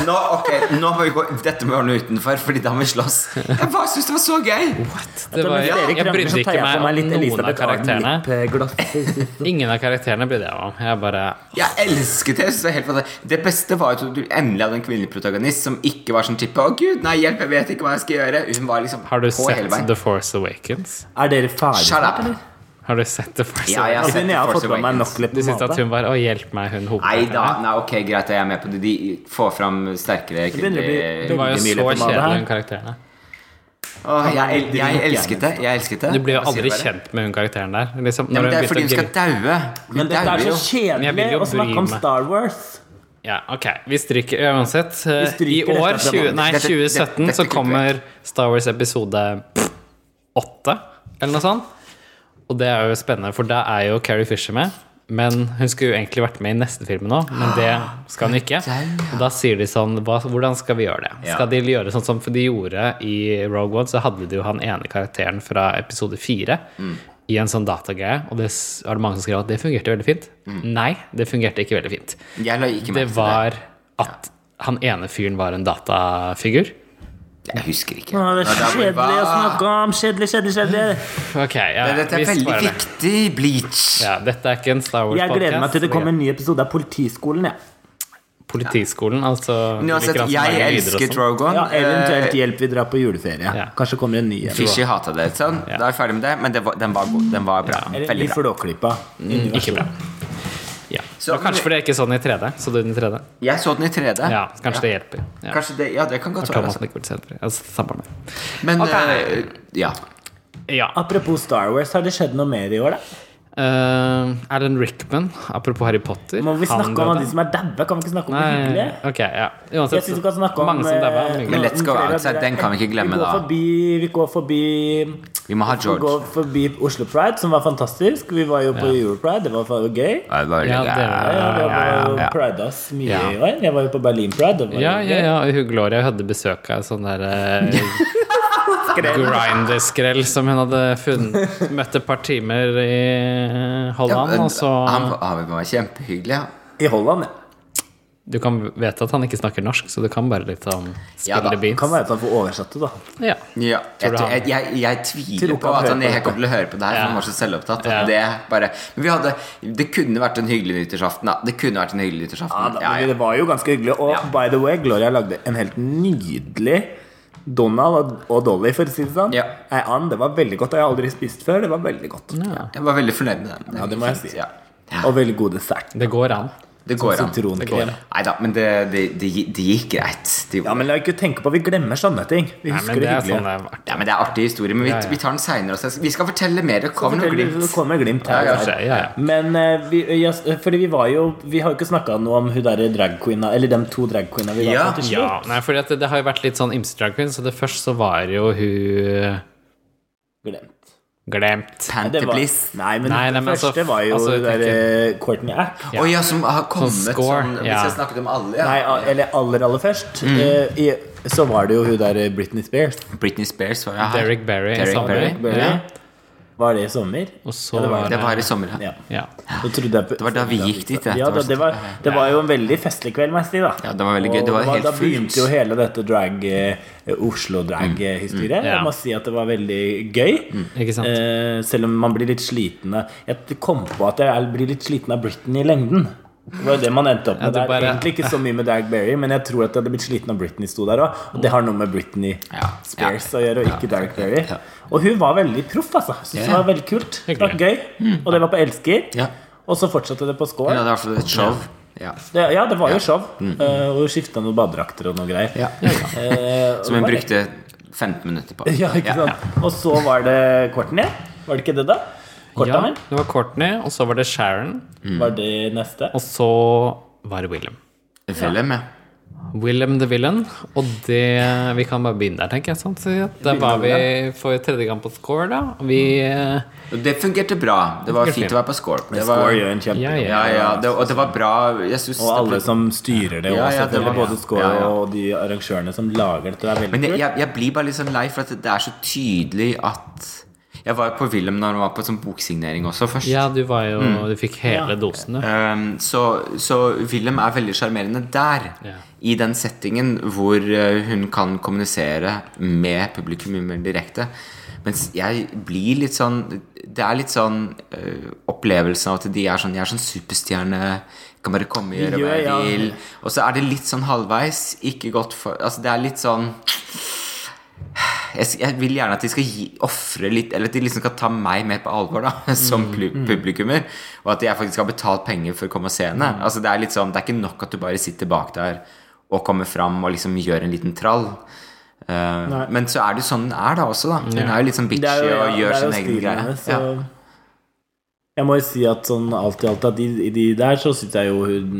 Nå, ok, nå må vi gå Dette må vi ordne utenfor, Fordi da må vi slåss. Jeg bare syns det var så gøy!
Det var,
Mens dere
jeg, jeg
krangler, så
brydde
tar
ikke
jeg på
meg
meg
om
litt
noen av
Elisabeth
karakterene.
Arden-lippeglass.
Ingen av karakterene brydde jeg meg om. Jeg bare
Jeg elsket det. jeg synes det, var helt fantastisk. det beste var jo at du endelig hadde en kvinnelig protagonist som ikke var sånn type 'Å, gud, nei, hjelp, jeg vet ikke hva jeg skal gjøre'. Hun var liksom
Har du
på hele
sett
veien.
The Force Awakens?
Er dere ferdige?
Shut up!
Har du sett The Force
Ja, jeg har
Awakens?
sett
Siden jeg har
Force
fått med meg
Awakens.
nok litt
Du
på
syntes at
mat,
hun var Å, hjelp meg, hun
Nei da.
hovedkarakteren.
Nei, ok, greit, jeg er med på det. De får fram sterkere
begynner å bli-
kvinnelige
Hun var jo
Veldig mye
så
leppepomade her.
kjedelig, hun karakteren.
Åh, jeg, el jeg elsket det. Jeg elsket det.
Du blir jo
Hva sier
aldri
bare?
kjent med hun karakteren der. Liksom,
Ja,
når
men det
hun
er fordi hun
begynte å
skal daue. Hun
Men dette
dauer
er
jo.
så
jeg vil
kjedelig
jo
å snakke om
bry meg.
Star Wars.
Ja, ok, vi stryker ja, uansett. eh, I
stryker
år,
dette fra
20, nei,
Dette- dette-
2017,
dette
så
klipper
kommer Star Wars episode 8, eller noe sånt. Og det er jo spennende, for da er jo Carrie Fisher med. Men hun skulle jo egentlig vært med i neste film nå, men det skal hun ikke. Og da sier de sånn hva, Hvordan skal vi gjøre det?
Ja.
Skal de gjøre sånn som de gjorde i Rogue One, så hadde de jo han ene karakteren fra episode 4
Mm.
i en sånn datagreie, og det s- var det mange som skrev at det fungerte veldig fint.
Mm.
Nei, det fungerte ikke veldig fint.
Jeg la ikke
Det
merke til det.
var at han ene fyren var en datafigur.
Jeg husker ikke.
Å, det
Ja,
er så
da var det
kjedelig å
bare-
snakke om. Kjedelig, kjedelig, kjedelig.
Ok, ja,
Ja, Dette
vi
er veldig
svarer det.
viktig. Bleach.
Ja, dette er ikke en Star Wars-podcast.
Jeg gleder meg til det kommer en ny episode av Politiskolen. Ja.
Politiskolen, altså.
Men uansett,
liker han som
jeg
lager lyder og
elsket
sånn.
Rogue One.
Ja, eventuelt
Eh,
hjelp vi drar på juleferie.
Ja.
Kanskje kommer en ny en.
Fishy hata det. Sånn.
Ja.
Da er vi ferdig med det. Men det var, den, var god. den var bra.
Eller
Veldig
litt
bra.
flåklippa.
Ikke bra. Ja.
Så-
Men kanskje fordi det er ikke sånn i 3D. Så du den i 3D?
Jeg så den i 3D.
Ja, kanskje det hjelper. Ja.
Kanskje det, ja, det kan godt være.
Thomas
Altså.
Nichols heter det. Altså, samme med.
Men
Ok.
eh, ja.
Ja.
Apropos Star Wars, har det skjedd noe mer i år, da?
eh, Alan Rickman, apropos Harry Potter
Må vi
han
snakke om
døde.
alle de som er daue? Kan vi ikke snakke om det
Nei,
hyggelige?
ok, ja.
Jeg
Uansett,
synes vi kan snakke om
mange som dabba.
eh,
mange-
Men Let's Go
flere
Out, så
dere-
den kan vi ikke glemme,
vi går
da.
Forbi, vi går forbi
Vi må ha
Vi
George.
går forbi Oslo Pride, som var fantastisk. Vi var jo på
Ja.
Europride, det var fa- gøy.
Ja, det var
Ja, det
Ja,
var-
ja, det var
ja, ja.
pride oss mye
Ja.
i år. Jeg var jo på Berlin Pride. Det var
Ja,
jo
ja,
gøy.
ja. og Hun Gloria hadde besøk av sånn der eh, Grinder-skrell som hun hadde funnet Møtt et par timer i eh,
Ja,
Holland,
men
og så
han, han var kjempehyggelig. ja.
I Holland, ja.
Du kan vite at han ikke snakker norsk, så du kan bare litt om
Ja da,
spille beats.
Kan være at han får oversatt det, da.
Ja.
Ja, jeg,
Tror du
tror-
han-
jeg, jeg, jeg tviler
Tror du
på
han
at
hører på
han ikke
dette?
kommer til å høre på det her. For
Ja.
han var så selvopptatt.
Ja.
at Det, bare, men vi hadde, det kunne vært en hyggelig nyttårsaften, da. Det kunne vært en hyggelig
Ja,
nyttårsaften.
da
Ja,
men
ja.
Det var jo ganske hyggelig. Og
Ja.
by the way, Gloria lagde en helt nydelig Donald og- og Dolly, for å si det sånn.
Ja.
Ei and. Det var veldig godt. Og jeg har aldri spist før. Det var veldig godt.
Jeg var veldig fornøyd med den.
Ja, det må jeg si.
Ja.
Og veldig god dessert.
Det går an.
Det går an.
Sitronkrem.
Nei da, men det, det, det, gi- det gikk greit. Det gjorde
Ja, men la ikke tenke på Vi glemmer sånne ting. Vi
Nei,
husker
men det
det
er sånn det
hyggelige.
har vært.
Ja, men Det er artig historie, men vi,
Ja, ja.
vi tar den seinere. Vi skal fortelle mer. Det
Så
kommer noe
forteller vi-
glimt.
så kommer glimt her.
Ja,
og
ja,
der.
ja, ja.
Men eh, vi, ja, s- fordi vi var jo Vi har jo ikke snakka noe om hun derre dragqueena Eller de to dragqueena vi var
Ja.
på til slutt.
Ja, nei, fordi at det, det har jo vært litt sånn ymse drag queen, så det først så var jo hun eh,
Glemt.
glemt.
Det var,
Pantebliss.
nei, men
Nei, nei,
det
men altså,
første var jo
altså,
hun derre Courtney Act.
Å ja, som har kommet
Som
sånn,
score,
Hvis
ja.
jeg snakket om alle, ja.
Nei, a- eller aller, aller først eh, i, Så var det jo hun der eh, Britney Spears
Britney Spears var jeg her.
Derrick Barry i
Derrick
sommer.
Barry.
Berry.
Ja.
Var det i sommer?
Og
Ja,
så
det var
var
Det var
det
i sommer, ja.
Ja
Ja.
Da trodde jeg
Det var da vi gikk dit, det.
Ja,
Det var sånn-
da, det, var, det var jo en veldig festlig kveld, må jeg si. da
Ja, det var veldig gøy.
Og
Det var helt
Da
fullt.
begynte jo hele dette drag eh,
Mm.
Oslo-drag-historiet.
Ja.
Jeg må si at det var veldig gøy.
Ikke sant?
Eh, selv om man blir litt sliten av Jeg kom på at jeg er- blir litt sliten av Britney i lengden. Det var jo det man endte opp med
du
der.
bare-
Egentlig ikke så mye med Dag Berry, men jeg tror at jeg hadde blitt sliten av Britney sto der òg. Og det har noe med Britney
Ja.
Spears
Ja.
å gjøre, og ikke Dag Berry. Og hun var veldig proff, altså. Synes det
Ja. Mm.
var veldig kult. Det var gøy. Og det var på Elsker.
Ja.
Og så fortsatte det på Skål.
Ja, det var i hvert fall et show. Ja. Mm.
Det, ja, det var jo show. eh, og skifta noen badedrakter og noe greier.
Ja.
Eh,
Som hun
var-
brukte 15 minutter på.
Ja, ikke sant? Og så var det Courtney. Var det ikke det, da?
Ja,
Courtney?
det var Courtney, og så var det Sharon,
Mm.
Var det neste?
og så var det William.
Jeg følger med.
Willem the Villain, og det Vi kan bare begynne der, tenker jeg. Sånn. Så ja, der var vi for tredje gang på score, da. Og Vi eh,
Og det fungerte bra. Det var
Fungerte
fint å
fint.
være på score. Det
Score
var,
gjør en kjempe
Ja,
ja, ja, det, og det var bra. Jeg synes
Og alle
det ble-
som styrer det, og
Ja, ja, det
selvfølgelig
var-
både Skål
ja, ja.
og de arrangørene som lager dette. Det er veldig
Men jeg,
kult.
jeg, jeg blir bare litt sånn lei, for at det er så tydelig at Jeg var på Wilhelm når han var på sånn boksignering også først.
Ja, du var jo Du fikk hele dosen, du.
Um, så, så Wilhelm er veldig sjarmerende der.
Ja.
I den settingen hvor uh, hun kan kommunisere med publikum mye mer direkte. Mens jeg blir litt sånn Det er litt sånn uh, opplevelsen av at de er sånn Jeg er sånn superstjerne. Kan bare komme og gjøre hva jeg
Ja, ja.
vil. Og så er det litt sånn halvveis. Ikke godt for Altså, det er litt sånn jeg, jeg vil gjerne at de skal gi- ofre litt Eller at de liksom skal ta meg mer på alvor da
Mm,
som plu- publikummer. Og at jeg faktisk har betalt penger for å komme og se henne.
Mm.
Altså Det er litt sånn, det er ikke nok at du bare sitter bak der og kommer fram og liksom gjør en liten trall. Eh,
Nei.
men så er det jo sånn hun er, da også. da Hun er jo litt sånn bitchy og gjør sin egen greie.
ja.
Ja.
Jeg må jo si at sånn alt i alt at i, i de der så syns jeg jo hun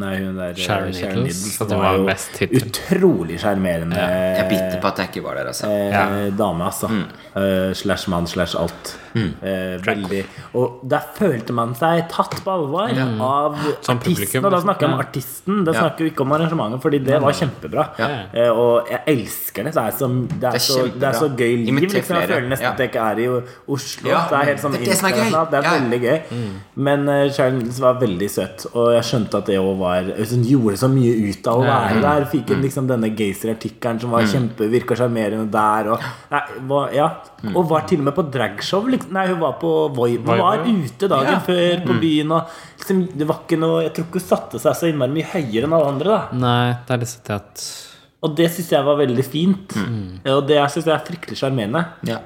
Nei, hun der
Sharon
eh,
Needles, at det
var
var
jo
best tittel.
Utrolig sjarmerende
Jeg er bitter på at jeg ikke var der, altså.
eh,
Ja.
dame, altså.
Mm.
Eh, slash mann, slash alt. Eh, veldig Og der følte man seg tatt på alvor av
Som
artisten.
publikum,
Og da snakker jeg om
ja.
artisten, da snakker vi ikke om arrangementet, fordi det var kjempebra.
Ja.
Eh, og jeg elsker det. Det er så, det er
er
så, det er så
kjempebra.
gøy liv.
Imiter
Liksom. Jeg
flere.
føler nesten
Ja.
at jeg ikke er i Oslo.
Ja,
det er helt sånn
det er det som er gøy.
internasjonalt. Det er
Ja.
veldig gøy. Men eh, Sharon Needles var veldig søt, og jeg skjønte at det òg var Hun gjorde så mye ut av å være der. Fikk
Mm.
hun liksom denne Gazer-artikkelen som var kjempe virka sjarmerende der, og nei, var, ja.
Mm.
Og var til og med på dragshow. Liksom. Nei, hun var på Voi. Hun
Voi,
var
ja.
ute dagen
Ja. Mm.
før på byen, og liksom, det var ikke noe Jeg tror ikke hun satte seg så innmari mye høyere enn alle andre, da.
Nei, det er liksom det at
Og det syns jeg var veldig fint.
Mm.
Og det syns jeg er fryktelig sjarmerende.
Ja.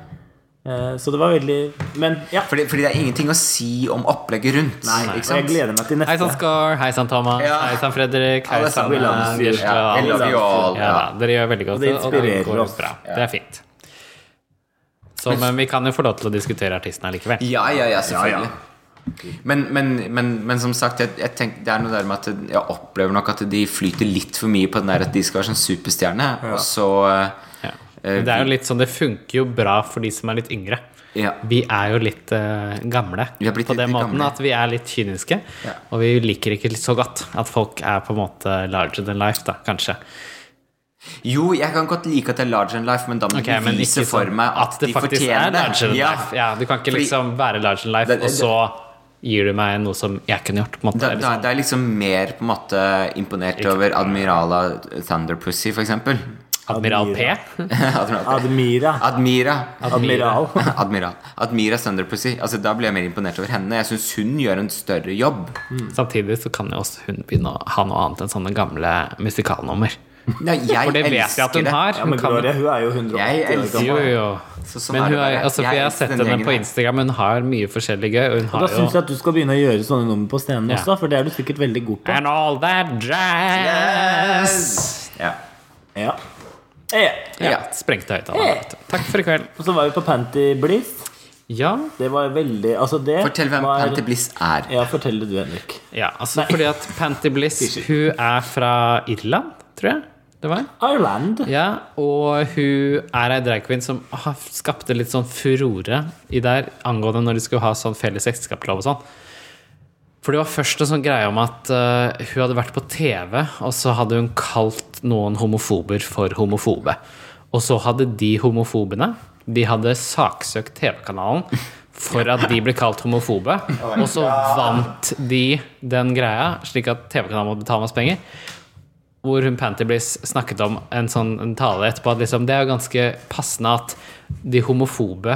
Eh, Så det var veldig Men ja.
Fordi, fordi det er ingenting å si om opplegget rundt.
og
ikke sant?
jeg gleder meg til
Hei sann,
neste.
Skar. Hei sann, Thomas.
Ja.
Hei sann, Fredrik. Hei
Alle
sann,
sammen.
eh, Gisle.
Ja, I
alle
love you all.
Ja,
Ja.
da, dere gjør veldig godt.
Og det inspirerer
går
oss.
Bra. Det er fint. Så, men vi kan jo få lov til å diskutere artisten allikevel.
Ja, ja, ja, selvfølgelig. Men, men, men, men som sagt, jeg, jeg tenk, det er noe der med at jeg opplever nok at de flyter litt for mye på den der at de skal være sånn superstjerne, og så eh,
Ja. Men Det er jo litt sånn, det funker jo bra for de som er litt yngre.
Ja.
Vi er jo litt eh, gamle
Vi har blitt
på den
litt
måten
gamle.
at vi er litt kyniske.
Ja.
Og vi liker ikke så godt at folk er på en måte larger than life, da, kanskje.
Jo, jeg kan godt like at det er larger than life, men da må
Ok,
du
men
bevise
ikke
for
sånn
meg at,
det
de
faktisk
fortjener
er
det.
larger than
ja.
life. Ja, du kan ikke
Fordi-
liksom være larger than life,
Det- det-
og så gir du meg noe som jeg kunne gjort. På en måte.
Da,
Eller
da,
sånn.
det er liksom mer på en måte imponert over Admirala Thunderpussy, for eksempel.
Liksom Admiral P.
Admiral.
Admira.
Admira.
Admiral.
Admiral. Admira Thunderpussy. Altså, da blir jeg mer imponert over henne. Jeg syns hun gjør en større jobb.
Samtidig så kan jo også hun begynne å ha noe annet enn sånne gamle musikalnummer.
Nei, jeg
For det vet jeg
elsker
at hun
det.
har.
Ja,
Hun
men
kan
Gloria, hun er jo 180
Jeg
år
elsker
Jo,
gammel.
jo.
Så sånn
men
er
hun
det
er,
bare.
altså,
Jeg
for jeg har
elsker
sett
den
henne
gjengen
på
her.
Instagram, hun har mye forskjellig gøy. Og hun
Og Da
har
syns
jo
jeg at du skal begynne å gjøre sånne nummer på scenen
Ja.
også, for det er du sikkert veldig god på.
And all that jazz!
Ja.
Ja. Ja.
Ja,
Ja.
Sprengte høyttaleren. vet du. Takk for i kveld.
Og så var vi på Panty Bliss.
Ja,
Det var veldig Altså, det
Fortell hvem
var
Panty Bliss er.
Ja, fortell det du, Henrik.
ja altså fordi at Panty Bliss Hun er fra Irland, tror jeg det var.
Ireland.
Ja, Og hun er ei drag queen som har skapte litt sånn furore i der angående når de skulle ha sånn felles ekteskapslov og sånn. For det var først en sånn greie om at eh, hun hadde vært på TV, og så hadde hun kalt noen homofober for homofobe. Og så hadde de homofobene De hadde saksøkt TV-kanalen for at de ble kalt homofobe. Og så vant de den greia, slik at TV-kanalen måtte betale masse penger hvor hun Pantybliss snakket om en sånn en tale etterpå at liksom, det er jo ganske passende at de homofobe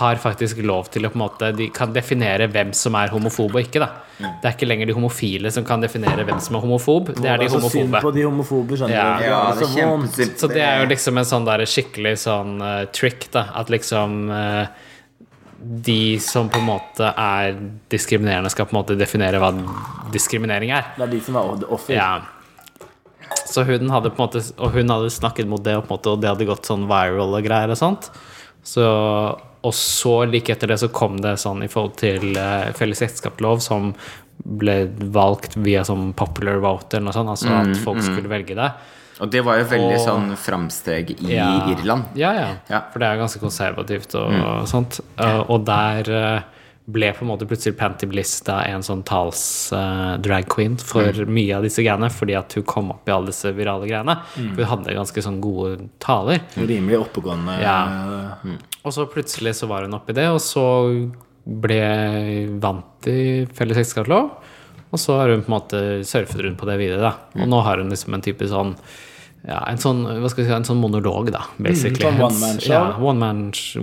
har faktisk lov til å på en måte De kan definere hvem som er homofob og ikke. da Det er ikke lenger de homofile som kan definere hvem som er homofob. Det er de
så synd på
homofobe.
de homofobe, skjønner
Ja.
du. Det
Ja,
var
det
så
er
vondt.
kjempesynd.
Så det er jo liksom en sånn der skikkelig sånn eh, trick, da. At liksom eh, de som på en måte er diskriminerende, skal på en måte definere hva diskriminering er.
Det er de som var offer.
Ja. Så hun hadde på en måte Og hun hadde snakket mot det, og, på en måte, og det hadde gått sånn viral og greier og sånt. Så, og så like etter det så kom det sånn i forhold til eh, felles ekteskapslov som ble valgt via sånn popular vote eller noe sånt, altså at folk skulle velge det.
Og det var jo veldig
Og-
sånn framsteg i
Ja.
Irland.
Ja, ja,
Ja. Mm.
For det er jo ganske konservativt og, og sånt. Eh, og der eh, ble på en måte plutselig Panty Bliss da en sånn tals eh, drag queen for
Mm.
mye av disse greiene, fordi at hun kom opp i alle disse virale greiene.
Mm.
For hun hadde ganske sånn gode taler.
Rimelig oppegående. eh,
Ja. Og så plutselig så var hun oppi det, og så ble vant i felles ekteskapslov. Og så har hun på en måte surfet rundt på det videre, da. Og nå har hun liksom en type sånn ja, en sånn, hva skal vi si, en sånn monolog, da, basically.
sånn one-man-show.
Ja, one man show,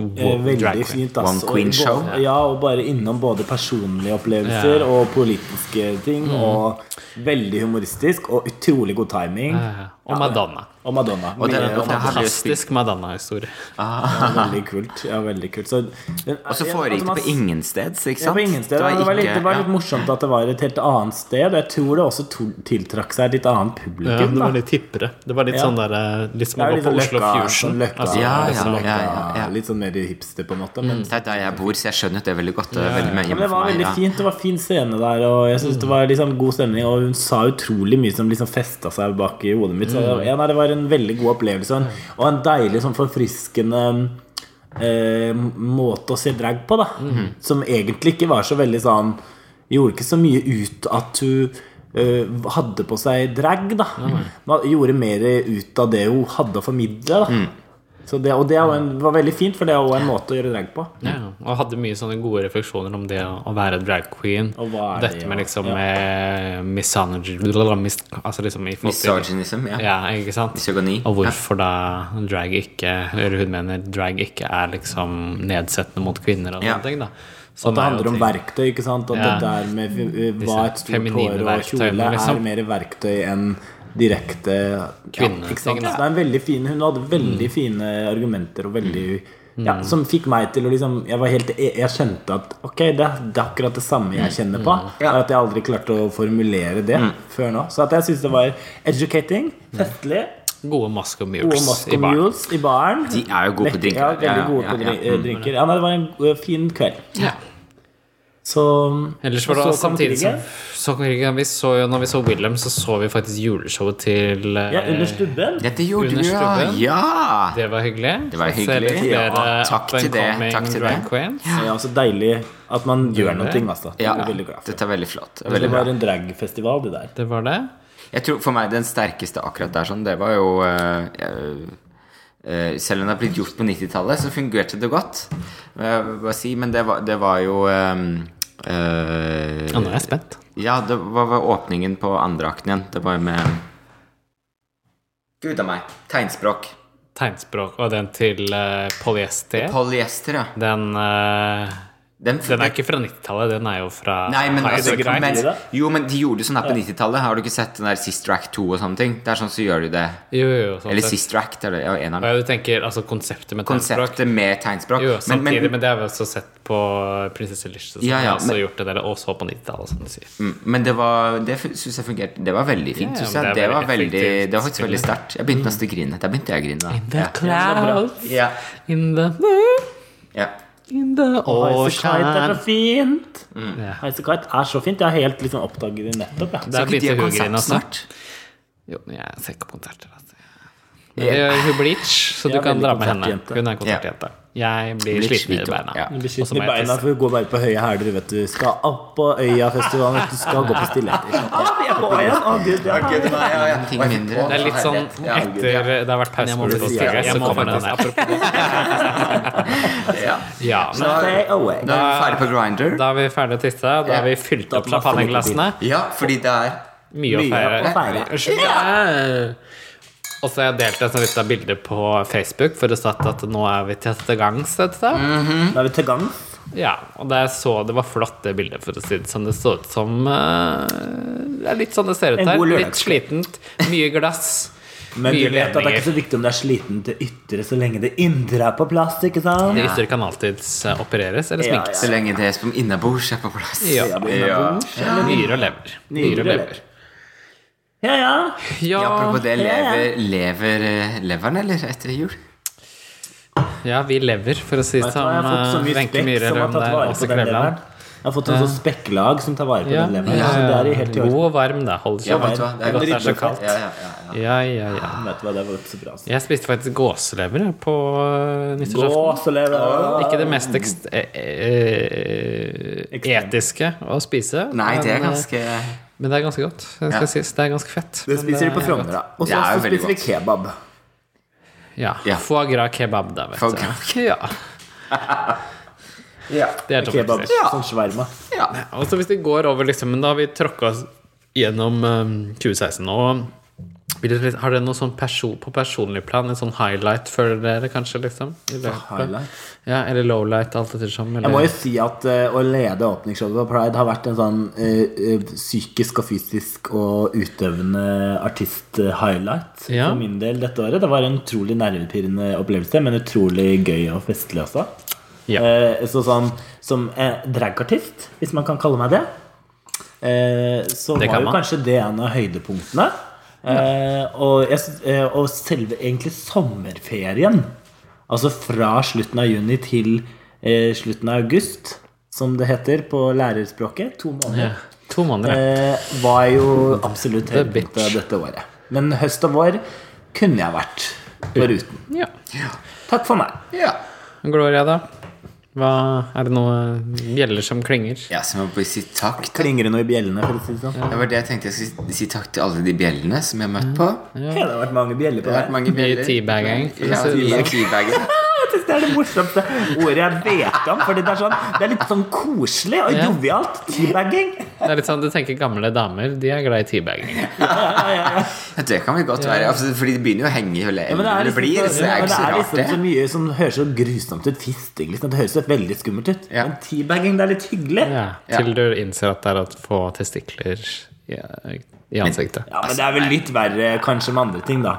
drag
Eh, Veldig
queen.
fint. ass.
One queen
Og-
show.
og- Ja, og bare innom både personlige opplevelser
Ja. Mm.
og politiske ting. Og veldig humoristisk og utrolig god timing.
Ja, ja. Og Madonna.
Og Madonna.
Og det,
Mye-
og det her ble jo spilt
Fantastisk Madonna-historie.
Ja, veldig kult. Ja, veldig kult. Så, den-
Og så
ja,
foregikk
altså,
det
man-
på ingensteds, ikke
Ja,
sant?
på ingen steder. Det var, litt, det var
ja.
litt morsomt at det var et helt annet sted. Jeg tror det også to tiltrakk seg et litt annet
Ja,
publikum.
det var
da.
litt hippere. Det var litt
Ja.
sånn der eh, Litt som å
Det
gå
er jo
på
litt sånn
Oslo
Løkka-
Fusion.
sånn Løkka-
Altså, Mm.
Ja,
liksom-
ja, ja,
Ja,
ja.
Litt sånn mer hipster, på en måte. Men
Det er der jeg bor, så jeg skjønner at det er veldig godt. Det er
Ja,
veldig mye
men
hjemme
det var
for meg.
veldig
Ja.
fint. Det var fin scene der, og jeg synes det var liksom god stemning. Og hun sa utrolig mye som liksom festa seg bak i hodet mitt. Så
Mm.
det, var- ja, nei, det var en veldig god opplevelse. og en- Og en deilig, sånn forfriskende eh, måte å se drag på, da.
Mm.
Som egentlig ikke var så veldig sånn Gjorde ikke så mye ut at hun eh, hadde på seg drag, da.
Mm.
Man gjorde mer ut av det hun hadde å formidle, da.
Mm.
Så det, og det er jo en, var veldig fint, for det er jo en måte å gjøre drag på.
Ja, og hadde mye sånne gode refleksjoner om det å være drag queen.
Og hva er det,
Dette
ja.
med liksom
Ja.
eh, misogyny blablabla, mis, Altså liksom i forhold til-
Misogynism, ja.
Ja, ikke sant?
Misogyni.
Og hvorfor da drag ikke Eller hun mener drag ikke er liksom nedsettende mot kvinner og
Ja.
sånne ting, da.
At
Sånn
det
er jo
handler om
ting.
verktøy, ikke sant? At
Ja.
det der med eh, hva et stort
feminine
hår og
verktøyene,
kjole
liksom.
er mer verktøy enn direkte
Kvinne- Mm.
Ja, ikke sant?
ting, da.
Så det er en veldig fin, hun hadde veldig fine argumenter og veldig
Mm.
ja, Som fikk meg til å liksom Jeg, var helt, jeg jeg skjønte at ok, det, det er akkurat det samme jeg
Mm.
kjenner på.
Ja.
Er at jeg aldri klarte å formulere det før nå. Så at jeg syns det var educating, festlig,
Gode Moscow
gode
Mules Mm. i
Moscow
baren.
Mules i baren.
De er jo gode på
Lekk-
drinker.
Ja, veldig gode
Ja,
på
ja,
dri- eh,
ja. Mm.
drinker. Ja, nei, det var en eh, fin kveld.
Ja.
Så
Ellers var det
og så kom
samtidig som
krigen.
så kom krigen. vi så jo, Når vi så Wilhelm, så så vi faktisk juleshowet til eh,
Ja, under stubben.
Dette gjorde
Under
du, ja!
stubben.
ja.
Det var hyggelig.
Det var
Så ser
hyggelig,
litt
ja.
flere
Takk
up and
til det,
coming
takk til
drag
det.
queens.
Ja, så deilig at man gjør noe, altså. Det
Ja,
er veldig glad for.
dette er veldig flott.
Det
Veldig bra.
var en dragfestival, det der.
Det var det.
Jeg tror For meg den sterkeste akkurat der sånn, det var jo eh, eh, eh, Selv om det har blitt gjort på 90-tallet, så fungerte det godt. Jeg vil bare si, men det var, det var jo eh, eh,
Ja, nå er jeg spent.
Ja, det var, var åpningen på andre akten igjen. Det var jo med Gud a meg. Tegnspråk.
Tegnspråk og den til eh, polyester.
Polyester, ja.
Den, eh,
Den,
den er ikke fra 90-tallet, den er jo fra
Nei, men,
High
altså,
School Crime.
men,
da?
jo, men de gjorde det sånn her på 90-tallet. Har du ikke sett den der Sister Act 2 og sånne ting? Det er sånn så gjør de det.
Jo, jo, jo, sånn
Eller
sett.
Sister Act, eller ja, en av dem.
Ja, du tenker altså konseptet med tegnspråk.
Konseptet med tegnspråk.
Jo,
Men- men-
samtidig, men, det har vi også sett på Prinsesse Lish. Og sånn.
Ja, ja,
også
men-
gjort det der, og så på 90-tallet, som du sier.
Mm, Men det var Det fun- synes jeg fungerte Det var veldig fint.
Ja,
synes
men det
jeg. Det,
er
var
veldig
veldig
effektivt
Det var faktisk
spill.
veldig sterkt. Jeg begynte nesten å grine. Der begynte jeg å grine. Da.
The clouds
Ja.
in the
Ja.
in the
Highasakite
ocean.
er så fint!
Ja.
Highasakite er så fint. Jeg har helt liksom oppdaget det nettopp. Ja.
Der
Skal ikke de
begynte
ha
hun å
konsert
grine også.
snart?
Jo, men jeg ser ikke på konserter. Altså.
Ja.
Det gjør hun Bleach, så du
Jeg er
kan
veldig
dra med henne.
konsertjente.
Hun er konsertjente. Jeg blir
Bleach,
sliten
vi
i
to.
beina.
Ja.
Du
Og
blir
så
sliten
må
i
jeg
beina
tisse.
for å gå bare på høye hæler. Du vet du skal opp på Øyafestivalen. vet Du Du skal gå på stillheter.
Ah, Ting mindre.
Det er litt sånn etter det har vært pause på
Jeg må
Ulf og
si-
Stigre,
jeg
så
må
kommer den der.
Ja.
Ja, men
Da,
Stay away.
da er vi ferdig på Grinder.
da er vi ferdig å tisse. Da har vi fylt opp champagneglassene.
Ja, fordi det er
Mye å
Mye å
feire.
feire.
Unnskyld. Og så har jeg delt et sånt lite bilde på Facebook, for det satt at nå er vi til gangs. vet du.
Da er vi til gang.
Ja, og det, jeg så, det var flott det bildet, for å si det sånn. Det så ut som eh, Det er litt sånn det ser ut
En
her.
god
Litt
lørdagskveld.
slitent. Mye glass.
Men du
mye
vet at det er ikke
ledninger.
så viktig om det er sliten til ytre, så lenge det indre er på plass. ikke sant?
Det ytre kan alltids eh, opereres eller
Ja,
sminkes.
Så lenge det som innabords er på plass.
Ja.
Ja.
Nyre og lever. Nyre og lever.
Ja, ja.
Ja,
Ja, Apropos det,
Ja, ja.
lever, lever eh, leveren, eller? Etter jul?
ja, vi lever, for å si det
Vet du hva,
sånn.
jeg har fått så mye
Wenche
spekk
Myhre
som har
Røm
tatt
der,
vare på
Åse
den leveren.
Kleveland.
Jeg har fått en sånn spekklag som tar vare på
Ja,
den leveren.
ja,
Så det er i helt i
god
orden.
og varm, da. Holder
Ja,
seg
vet du hva?
varm.
Det er
Godt det er så
ryddeplass.
kaldt.
Ja, ja, ja, ja.
Ja, ja, ja.
Vet du hva, det var ikke så bra. altså.
Jeg spiste faktisk gåselever jeg, på eh, nyttårsaften.
Gåselever.
Ikke det mest ekst eh, eh,
Ekstremt.
etiske å spise.
Nei, det er
men, eh,
ganske
Men det er ganske godt. Det skal
Ja.
sies. Det er ganske fett.
Det
Men eh,
spiser de på
er
Frogner, da. Og
Det
så
er jo
så
veldig
spiser vi kebab.
godt. Ja.
Ja.
Foie gras kebab, da, vet
Foie
du.
gras.
Ja,
Ja.
det er
Kebab,
toppklasse.
Sånn sverma.
ja.
Og så hvis det går over, liksom Men da har vi tråkka oss gjennom eh, 2016 ehm, nå. Vil dere- Har dere noe sånn perso- på personlig plan, en sånn highlight, føler dere kanskje? liksom? I løpet?
highlight?
Ja, Eller lowlight, alt ettersom. Eller?
Jeg må jo si at eh, å lede åpningsshowet på Pride har vært en sånn eh, eh, psykisk og fysisk og utøvende artist-highlight
Ja.
for min del dette året. Det var en utrolig nervepirrende opplevelse, men utrolig gøy og festlig også.
Ja.
Eh, så sånn som eh, dragartist, hvis man kan kalle meg det, eh, så
Det
var
kan
jo
man.
kanskje det en av høydepunktene. Eh, og, jeg, syns- eh, og selve egentlig sommerferien, altså fra slutten av juni til eh, slutten av august, som det heter på lærerspråket, to
Ja.
måneder,
To måneder.
eh, var jo absolutt
The bitch.
høydepunktet dette året. Men høst og vår kunne jeg vært foruten.
Ja.
Takk for meg.
Ja.
Gloria, da? Hva, er det noe bjeller som klinger?
ja, så jeg må bare si takk. til-
Klinger det noe i bjellene? for å si det sånn?
Det var det jeg tenkte jeg skulle si takk til alle de bjellene som jeg har møtt på.
Ja, Det har vært mange bjeller på
Det har vært
veien.
mange bjeller.
teabagging, for å
Ja,
si det
mye
sånn.
teabagging.
Det er det morsomste ordet jeg vet om. Fordi det er, sånn, det er litt sånn koselig og
Ja.
jovialt. Teabagging.
Det er litt sånn, Du tenker gamle damer, de er glad i teabagging.
Ja, Det kan vi godt være. Altså, fordi det begynner jo å henge i hullet.
Ja, men det er
det
liksom,
blir, så det
ja,
er
men
ikke så
det er
rart,
liksom så
det.
mye som høres så grusomt ut. Fisting. Liksom. Det høres så veldig skummelt ut.
Ja.
Men teabagging, det er litt hyggelig. Ja.
Ja, til du innser at det er å få testikler ja, i ansiktet.
men det er vel litt verre kanskje med andre ting, da.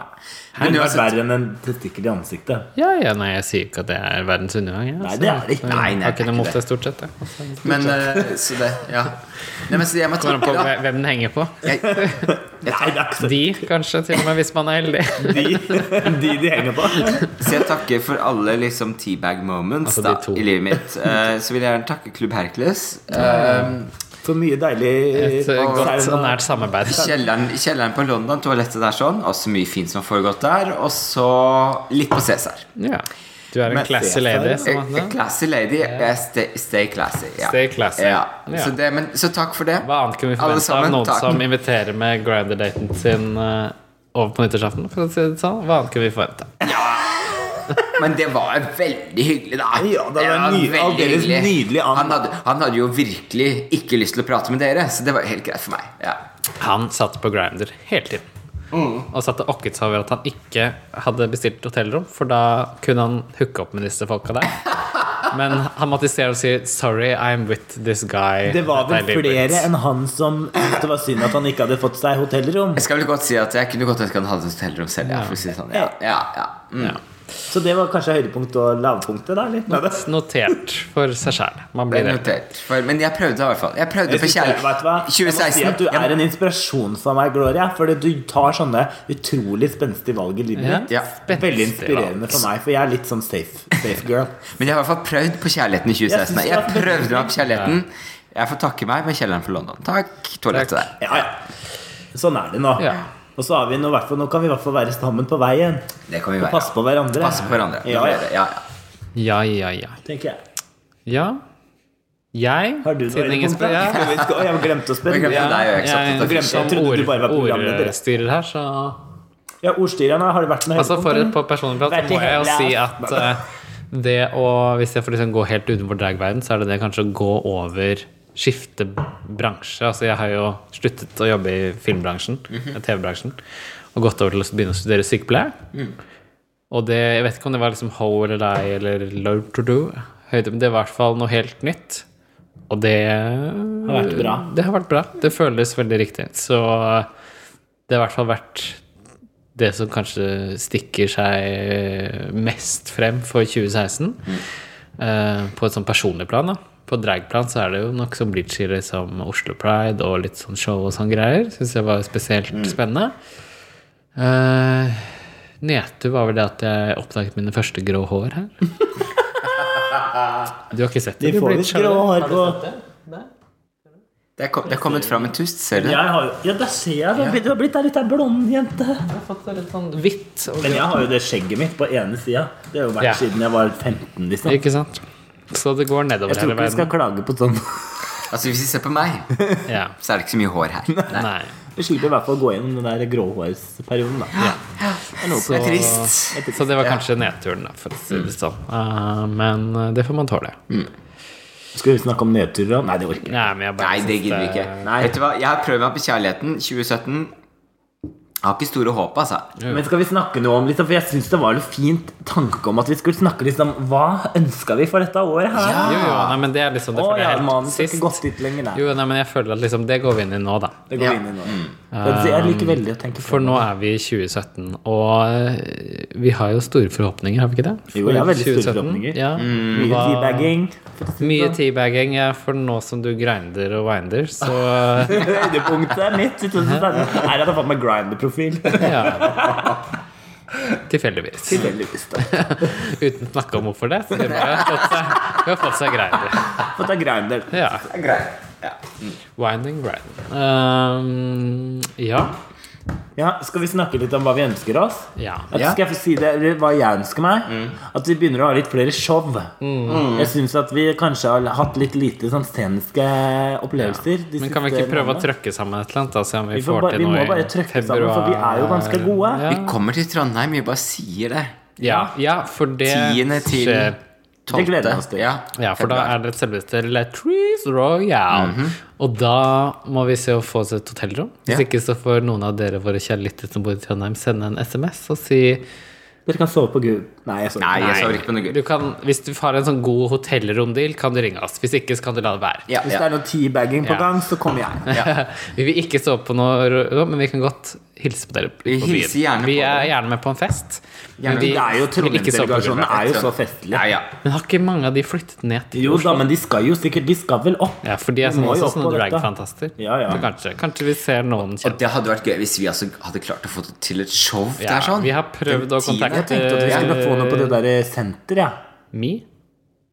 Det
Men
kunne vært
uansett-
verre enn en testikkel i ansiktet.
Ja, ja, nei, jeg sier ikke at det er verdens undergang. Jeg,
Nei,
altså.
det er det ikke.
Nei, nei,
Har
det
ikke
er
noe
ikke
mot
det.
det, stort sett. jeg. Altså,
Men
sånn-
eh, så det, ja. Nei, men så jeg må
Kommer an
takke,
på
da.
hve- hvem den henger på.
Jeg,
Nei, det er ikke så
De, kanskje, til og med, hvis man er heldig.
de, de de henger på.
så jeg takker for alle liksom teabag moments
Altså, de
da,
to.
i livet mitt. Eh, så vil jeg gjerne takke Klubb Hercules. Eh,
For mye deilig
Et eh,
Og-
godt
sauna.
og nært samarbeid.
Kjelleren, kjelleren på London, toalettet der sånn. Også mye fint som har foregått der. Og så litt på Cæsar.
Ja. Du er en
Men-
classy lady.
A,
Som,
a classy lady. eh, Stay, stay classy. Ja.
Stay classy.
Ja.
Ja.
Så, det, men, så takk for det.
hva annet kunne vi
Alle
forvente av
sammen,
noen
takk.
som inviterer med grinder-daten sin eh, over på nyttårsaften? For å si det sånn. Hva annet kunne vi forvente?
Men det var veldig hyggelig, da.
Ja, det var ny-
veldig
aldeles
hyggelig.
nydelig an-
Han hadde, han hadde jo virkelig ikke lyst til å prate med dere, så det var helt greit for meg. Ja.
Han satt på grinder hele tiden.
Mm.
Og satt og okket seg over at han ikke hadde bestilt hotellrom, for da kunne han hooke opp med disse folka der. Men han måtte i stedet si 'sorry, I'm with this guy'.
Det var
that I
vel
live with».
flere enn han som syntes det var synd at han ikke hadde fått seg hotellrom.
Jeg skal vel godt si at jeg kunne godt ønske han hadde et hotellrom selv. Ja, for å si det sånn. ja, ja, ja. Mm.
Ja.
Så det var kanskje høydepunktet og lavpunktet der, litt. med det.
Notert for seg sjæl. Man
Det
blir
er
det.
notert. For, men jeg prøvde i hvert fall. Jeg prøvde
Jeg
på
synes det- vet du hva?
kjærlighet.
Jeg må si
2016.
at du
Jeg-
er en inspirasjon for meg, Gloria. Fordi du tar sånne utrolig spenstige valg i livet
Ja.
ditt.
ja.
Veldig
Spenstig
inspirerende for meg, for jeg er litt sånn safe, safe girl.
Men jeg har i hvert fall prøvd på kjærligheten i
Jeg
2016.
synes det
Jeg,
var veldig
prøvde meg
fint.
på kjærligheten. Jeg får takke meg med kjelleren for London. Takk. Toalettet der.
Ja, ja. Sånn er det nå.
Ja.
Og så har vi nå, i hvert fall- nå kan vi i hvert fall være sammen på veien.
Det kan vi
Og
være.
passe på hverandre.
Passe på hverandre. Det
Ja,
ble
ja,
det. Ja, ja.
Ja, ja, ja.
tenker jeg.
Ja. Jeg
Har du noe
siden ingen
høydepunkt?
spør- ja.
da? Skal vi- skal- Å, Jeg glemte å
Jeg
spørre.
glemte
Ja,
deg, og jeg
Jeg-
er ikke så opptatt av
glemte- jeg
som
trodde du bare var
ord-
programleder.
ordstyrer her, så
ja ordstyrerne, har det vært noe
Altså for
høydepunkt?
på personlig plan så
Vært
må
i
jeg jo
hele
si
aften.
at eh, det å Hvis jeg får liksom gå helt utenfor dragverden, så er det det kanskje å gå over Skifte bransje. Altså jeg har jo sluttet å jobbe i filmbransjen,
Mhm.
TV-bransjen, og gått over til å begynne å studere sykepleie.
Mm.
Og det, jeg vet ikke om det var liksom Ho eller deg eller Lord to do, høyde, men det var i hvert fall noe helt nytt. Og det har
vært bra.
Det har vært bra. Det føles veldig riktig. Så eh, det har i hvert fall vært det som kanskje stikker seg eh, mest frem for 2016.
Mm.
Eh, på et sånn personlig plan, da. På dragplan så er det jo nok som Bleachy, liksom Oslo Pride og litt sånn show og sånn greier. Syns jeg var spesielt
Mm.
spennende. Eh, nedtur var vel det at jeg oppdaget mine første grå hår her. Du har ikke sett det?
Vi
Du
får
blir
visst
sjøl.
grå hår på
Det er, kom, det er kommet fram en tust, ser du det?
Jeg har jo- Ja, der ser jeg det. Du har blitt ei lita blondjente.
Jeg har fått litt sånn hvitt. og
Men
grå.
jeg har jo det skjegget mitt på ene sida. Det har jo vært
Ja.
siden jeg var 15. liksom
Ikke sant? Så det går nedover
Jeg tror
hele
ikke vi skal
verden.
klage på sånn.
Altså Hvis vi ser på meg,
Ja.
så er det ikke så mye hår her. Nei.
Nei.
Vi slipper i hvert fall å gå gjennom den der gråhårsperioden. da
Det er trist.
Så det var kanskje nedturen, da, for å si det sånn. Eh, men eh, det får man tåle.
Mm. Skal vi snakke om nedturer òg? Nei, det orker jeg ikke.
Nei, men jeg bare
Nei, det
synes
gidder vi ikke.
Nei.
Vet du hva, Jeg har prøvd meg på kjærligheten 2017. Jeg har ikke store håp, altså.
Men skal vi snakke noe om liksom, For jeg syns det var litt fint tanke om at vi skulle snakke litt om hva ønska vi for dette året her?
Jo, jo, nei, men det er liksom det
Å
for det
ja,
er helt
mannen skal
sist.
ikke gått dit lenger, nei.
Jo, nei, men jeg føler at liksom, det går vi inn i nå, da.
Det går
Ja.
vi inn i nå. Jeg- Jeg liker veldig å tenke på
Mm. Um, For nå er vi i 2017, og eh, vi har jo store forhåpninger, har vi ikke det?
Jo, jeg har veldig
2017,
store forhåpninger. Mm.
Ja.
mye
Hva-
teabagging.
Mye teabagging, ja, for nå som du grinder og winder, så eh,
Høydepunktet er mitt. i 2016. Nei, jeg hadde fått meg grinder-profil.
ja. Tilfeldigvis.
Tilfeldigvis, da.
Uten å snakke om hvorfor det. Så de bare har fått seg, de har fått seg grinder.
Fått deg grinder.
Ja. Winding grinder. Um, ja.
Ja, skal vi snakke litt om hva vi ønsker oss?
Ja.
At,
Ja. Mm.
skal jeg få si det, eller hva jeg ønsker meg? At vi begynner å ha litt flere show. Jeg syns at vi kanskje har hatt litt lite sånn sceniske opplevelser. de
Men kan vi
siste
ikke prøve å
månedene.
trøkke sammen et eller annet? Da, se om vi,
Vi, får
får
bare,
til
vi
noe
må
i
bare trøkke sammen, for vi er jo ganske gode.
Ja.
Vi kommer til Trondheim, vi bare sier det.
Ja, ja, for det
Tiende til
skjer.
tolvte.
gleder vi oss til.
Ja,
Ja, for da
februar. Mhm.
er det selveste Latrice Royale. Og da må vi se å få oss et hotellrom. Hvis
Ja.
ikke så får noen av dere våre kjære lyttere som bor i Trondheim, sende en SMS og si
Dere kan sove på Gud. Nei, jeg sover
Nei,
ikke.
jeg sover ikke på noe gøy.
du kan, Hvis du har en sånn god hotellromdeal, kan du ringe oss. Hvis ikke, så kan du la det være.
Ja,
Hvis det
ja.
er noe teabagging på
Ja.
gang, så kommer jeg.
vi vil ikke sove på noe rom, men vi kan godt hilse på dere.
Vi
på byen.
hilser gjerne
vi
på
er
dere.
gjerne med på en fest.
Gjerne.
vi
Det er jo
vil ikke sove på
Trondheim-delegasjonen
rommet.
er jo så festlig.
Ja, ja.
Men har ikke mange av de flyttet ned til
Jo da, men de skal jo sikkert De skal vel opp?
Ja, for de er
Vi
sånn,
må jo
også
opp på
sånne
dette.
dragfantaster.
Ja, ja.
Så kanskje, kanskje vi ser noen
Og
kjente.
det hadde vært gøy hvis vi altså hadde klart å få til et show
Ja,
der sånn.
Vi har prøvd å
Den tiende,
Jeg
kontakte
tenkte at vi skulle få noe på det
Eh,
derre senteret, ja.
Me?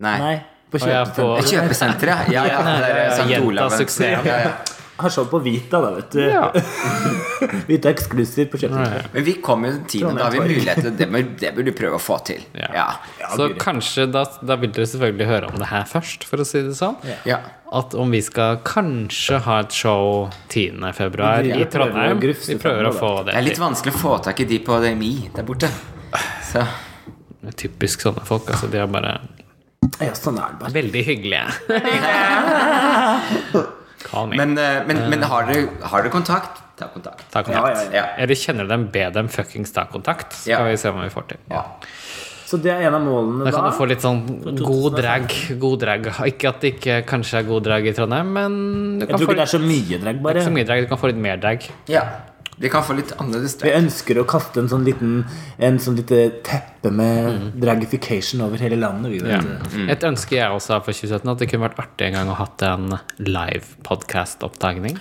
Nei.
Nei, på
Og jeg får-
kjøpesenteret.
Et kjøpesenter, ja. Ja, ja. Det er
ja, ja,
St.
jenta
Olavs.
suksess.
Ja, ja.
Har show på Vita, da, vet du.
Ja.
Vita eksklusivt på kjøpesenteret.
Men vi kom jo til tiden da har vi mulighet til det. men Det burde du prøve å få til.
Ja.
Ja.
Så kanskje da, da vil dere selvfølgelig høre om det her først, for å si det sånn.
ja.
At om vi skal kanskje ha et show 10. februar
Vi driver
i
og prøver å
Trondheim
grufse
Vi prøver å
frem
få
Det
det
er litt
til.
vanskelig å få tak i de på DMI der borte. Så
Typisk sånne folk. Altså, de er bare
Ja, sånn er det bare.
veldig hyggelige. Call me.
Men, eh, men, men har, dere, har dere kontakt? Ta kontakt.
Ta
Ja,
kontakt.
ja,
ja.
Eller kjenner dem, be dem fuckings ta kontakt. Så
Ja.
skal vi se hva vi får til.
Ja.
Så det er en av målene
Da kan du få
da.
litt sånn god drag. God drag. Ikke at det ikke kanskje er god drag i Trondheim, men du
Jeg
kan
tror
få
ikke det
litt,
er så mye drag, bare.
så mye drag. Du kan få litt mer drag.
ja. Vi kan få litt annerledes
Vi
det.
ønsker å kaste en sånn liten En sånn lite teppe med
Mhm.
dragification over hele landet. Vi, vet. du.
Mm.
Et ønske jeg også har for 2017, at det kunne vært artig en gang å hatt en live podcast-opptagning.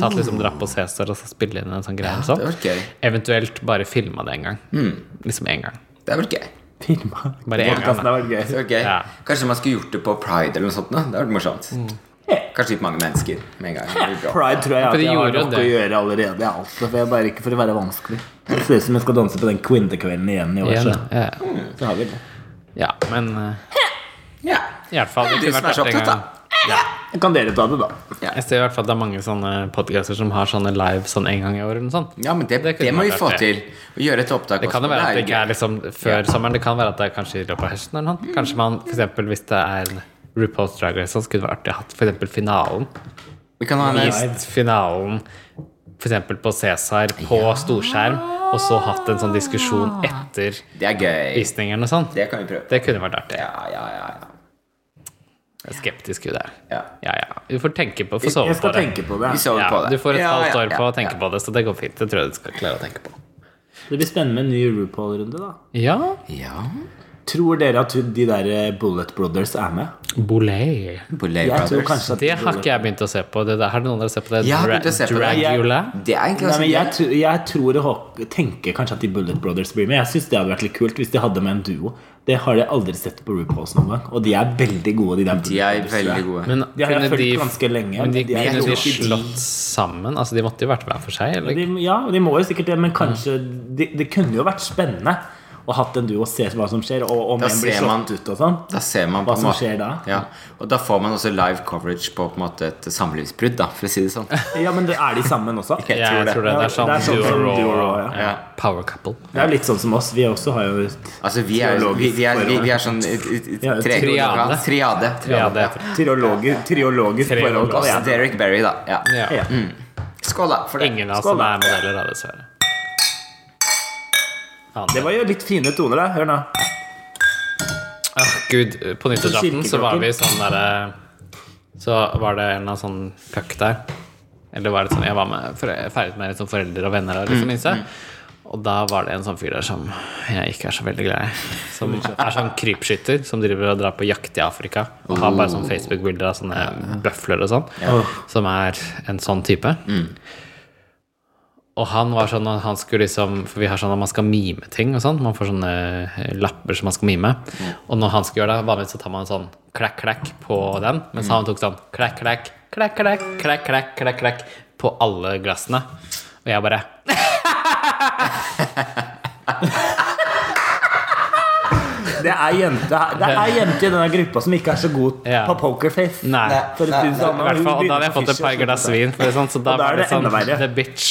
Tatt liksom Drapp og Cæsar og så spille inn en sånn greie.
Uh. det Mm.
sånn.
hadde vært gøy.
Eventuelt bare filma det en gang. Liksom en gang.
Det hadde vært gøy.
Firma.
Bare en gang,
Podcasten har vært
Det
gøy.
hadde vært gøy.
Ja. Mm.
Kanskje man skulle gjort det på pride eller noe sånt. Da. Det hadde vært morsomt. Kanskje litt mange mennesker med en gang. Det blir bra.
Pride tror jeg
For
at
de
jeg har
gjorde jo
nok
det.
å gjøre allerede. jeg, Altså, for jeg bare ikke for å være vanskelig. Det ser ut som jeg skal danse på den kvinnekvelden igjen i år.
Igjen,
Så.
ja.
så har vi det.
ja, men eh,
Ja.
i hvert fall det
Du
kunne
som er
vært
så
artig en
opptatt,
gang.
da.
Kan dere ta det, da?
Jeg ser i hvert fall at det er mange sånne podcaster som har sånne live sånn en gang i året. eller noe sånt.
Ja, men det,
Det
det,
kunne
må
vært
vi få
artig.
til. Å gjøre et opptak
Det kan jo
også.
være at
jo
det ikke
gøy.
er liksom før sommeren. Det kan være at det er kanskje i løpet av høsten. eller noe. Kanskje man, for eksempel, Hvis det er en RuPaul's Drag Race, så skulle det vært artig å ha for eksempel finalen.
Vi kan ha en
Live.
Vist finalen f.eks. på Cæsar på storskjerm, og så hatt en sånn
Ah.
diskusjon etter
Det er gøy.
visningen og sånn.
Det kan vi prøve.
Det kunne vært artig.
Ja, ja, ja. ja.
Jeg er skeptisk til det.
Ja.
Ja, ja. Du får tenke på får sove
Jeg
på
skal
det.
tenke på det.
Vi sover
Ja,
på det.
du får et
Ja,
halvt
ja,
år
ja,
på å
ja.
tenke på det, så det går fint. Det tror jeg du skal klare å tenke på.
Det blir spennende med en ny RuPaul-runde, da.
Ja,
Ja.
Tror dere at de der Bullet Brothers er med?
Bolet.
Boulay
Jeg tror
Brothers.
kanskje at
Det har ikke jeg begynt å se på. Det der, har noen av dere sett på det?
Jeg har begynt å se på det. Jeg-
Dragula?
Det er egentlig
Nei,
også
men jeg,
gøy.
tr- jeg tror og håp- tenker kanskje at de Bullet Brothers blir med. Jeg synes det hadde vært litt kult hvis de hadde med en duo. Det har jeg aldri sett på RuPaul's noen gang. Og de er veldig gode, de der
De er
Bullet Brothers, tror
veldig
jeg.
gode.
Men
De har jeg
kunne
fulgt
de,
ganske lenge,
men de,
men de er
kunne
jo
de
ikke de-
slått sammen? Altså, de måtte jo vært hver for seg? Eller?
De, ja, de må jo sikkert det, men kanskje Det de kunne jo vært spennende å hatt en duo og se hva som skjer, og om
Da
en blir
ser
slått
man-
ut og sånn.
Da ser man på
Hva
en
som
måte-
skjer da?
Ja. Og da får man også live coverage på, på en måte et samlivsbrudd, da, for å si det sånn.
Ja, men det er de sammen også?
Jeg
Ja,
tror det.
det.
Ja,
er sånn
det er sånn som
duo
duo,
og
ja.
ja, power couple.
Det er jo litt sånn som oss. Vi også har jo
Altså, vi er, vi, vi er, vi, vi er sånn et- et- et-
Ja, et
tre-
triade.
Triade.
Ja,
triade.
det
Ja.
heter det.
triologer, triologisk forhold.
Altså
kaller jeg det.
Derek Berry, da. Ja.
Ja.
Ja.
Skål, da. For det.
Ingen av oss
Skål,
som
da.
er modeller, da, dessverre. Aner
Det var jo litt fine toner, da. Hør nå.
Åh, Ah, Gud, på nyttårsaften så var
kirkeklokken.
vi sånn derre Så var det en eller annen sånn puck der. Eller var det sånn Jeg var med, for- jeg feiret med litt sånn foreldre og venner og liksom Inse. Og da var det en sånn fyr der som jeg ikke er så veldig glad i. Som er sånn krypskytter som driver og drar på jakt i Afrika. Og har bare sånn Facebook-bilder av sånne bøfler og sånn. Som er en sånn type. Og han var sånn at han skulle liksom For vi har sånn at man skal mime ting og sånn. Man får sånne eh, lapper som man skal mime. Og når han skulle gjøre det, vanligvis så tar man sånn klekk-klekk på den. Mens han tok sånn klekk-klekk, klekk-klekk, klekk-klekk, klekk-klekk på alle glassene. Og jeg bare
Det er jente, det er jente i denne gruppa som ikke er så god
Ja.
på pokerface.
Nei.
For å si det sånn,
I hvert fall, og da hadde jeg fått et par glass vin, for det sånn, så da
Og da er
var det
det
sånn
enda verre.
The bitch.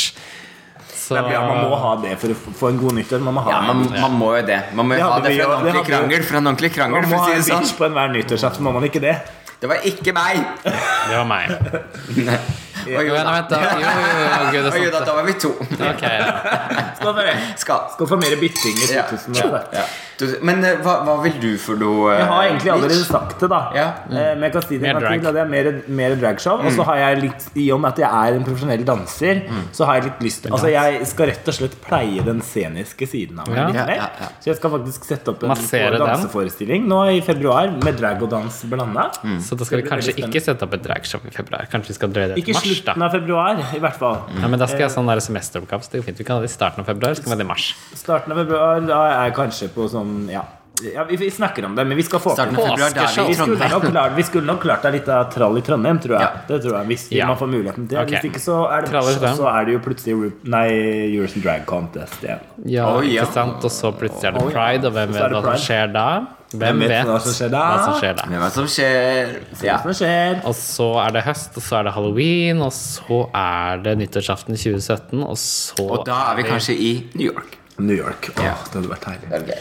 Så
Ja, man må ha det for å f- få en god nyttår. Man må ha
Ja, man, man må jo det. Man må jo
Ja,
ha
det
det
blir
fra
jo-
en
det
ordentlig
hadde jo-
krangel. Fra en ordentlig krangel,
man må
for å
ha
si
en
det sånn.
bitch på enhver nyttårsaften, må man ikke det?
Det var ikke meg!
det var meg.
Å
Jo,
jo
nei,
da.
vent, da. Jo, jo, jo, gud, det
Å
er
jo da,
sant.
da var vi to.
Ok, ja.
Skal få-
Skal.
Skal få mer bytting i
Ja.
2000.
Ja. Du, men eh, hva, hva vil du for noe? eh,
Jeg har egentlig allerede
bitch?
sagt det, da.
Ja. Mm.
Eh, Men jeg kan si det en
Mer
gang til.
drag.
at Det er mer, mer dragshow. Og så har jeg litt I og med at jeg er en profesjonell danser, så har jeg litt lyst Altså, jeg skal rett og slett pleie den sceniske siden av meg
Ja.
litt
Ja,
mer.
ja, ja.
Så jeg skal faktisk sette opp en
Massere den.
danseforestilling nå i februar med drag og dans blanda.
Mm.
Så da skal vi
Det blir
kanskje
veldig
ikke sette opp et dragshow i februar. Kanskje vi skal drøye det
Ikke
til mars, da.
slutten av februar, i hvert fall.
Mm.
Ja, men da skal jeg ha sånn der semesteroppgave. Så det er jo fint. Vi kan ha det i starten av februar, så kan vi ha det i mars.
Starten av februar, da er jeg kanskje på sånn Ja, ja vi, vi snakker om det, men vi skal få til
Starten av februar, da er vi
Påskeshow.
Vi
i
skulle, nok
Trondheim.
klart, vi skulle nok klart deg litt av trall i Trondheim, tror jeg.
Ja.
Det tror jeg, Hvis
Ja.
man får muligheten til det.
Ok.
Hvis ikke, så er det,
Trall i Trondheim.
så er det jo plutselig Ru- Nei, Eurovision Drag Contest igjen.
Ja,
Oi, ja.
ikke sant? Og så plutselig er det
Oi, ja.
pride, og hvem
Så er
vet
det
hva som
pride.
skjer da? Hvem
vet
vet
hva som skjer da?
hva som skjer da?
Men hva som skjer? Ja.
Hva som skjer?
Og så er det høst, og så er det halloween, og så er det nyttårsaften 2017, og så
Og da er vi kanskje i New York.
New York. Åh,
Ja.
det hadde vært herlig.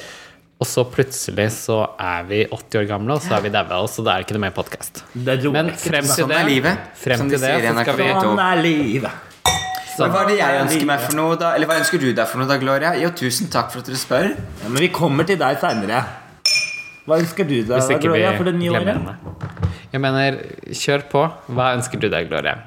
Og så plutselig så er vi 80 år gamle, og så er vi daua, og så det er ikke noe mer podkast.
Det er
Men
rolig.
frem til
Sånn
det,
er livet,
frem
som de
til det
sier i
så skal vi
NRK.
Sånn er livet.
Men hva er det jeg
Ja,
ønsker meg for noe, da? Eller hva ønsker du deg for noe, da, Gloria? Jo, tusen takk for at dere spør.
Ja, men vi kommer til deg seinere. Hva ønsker du deg,
Hvis ikke vi
Gloria, for det nye
glemmer
året?
henne. Jeg mener, kjør på. Hva ønsker du deg, Gloria?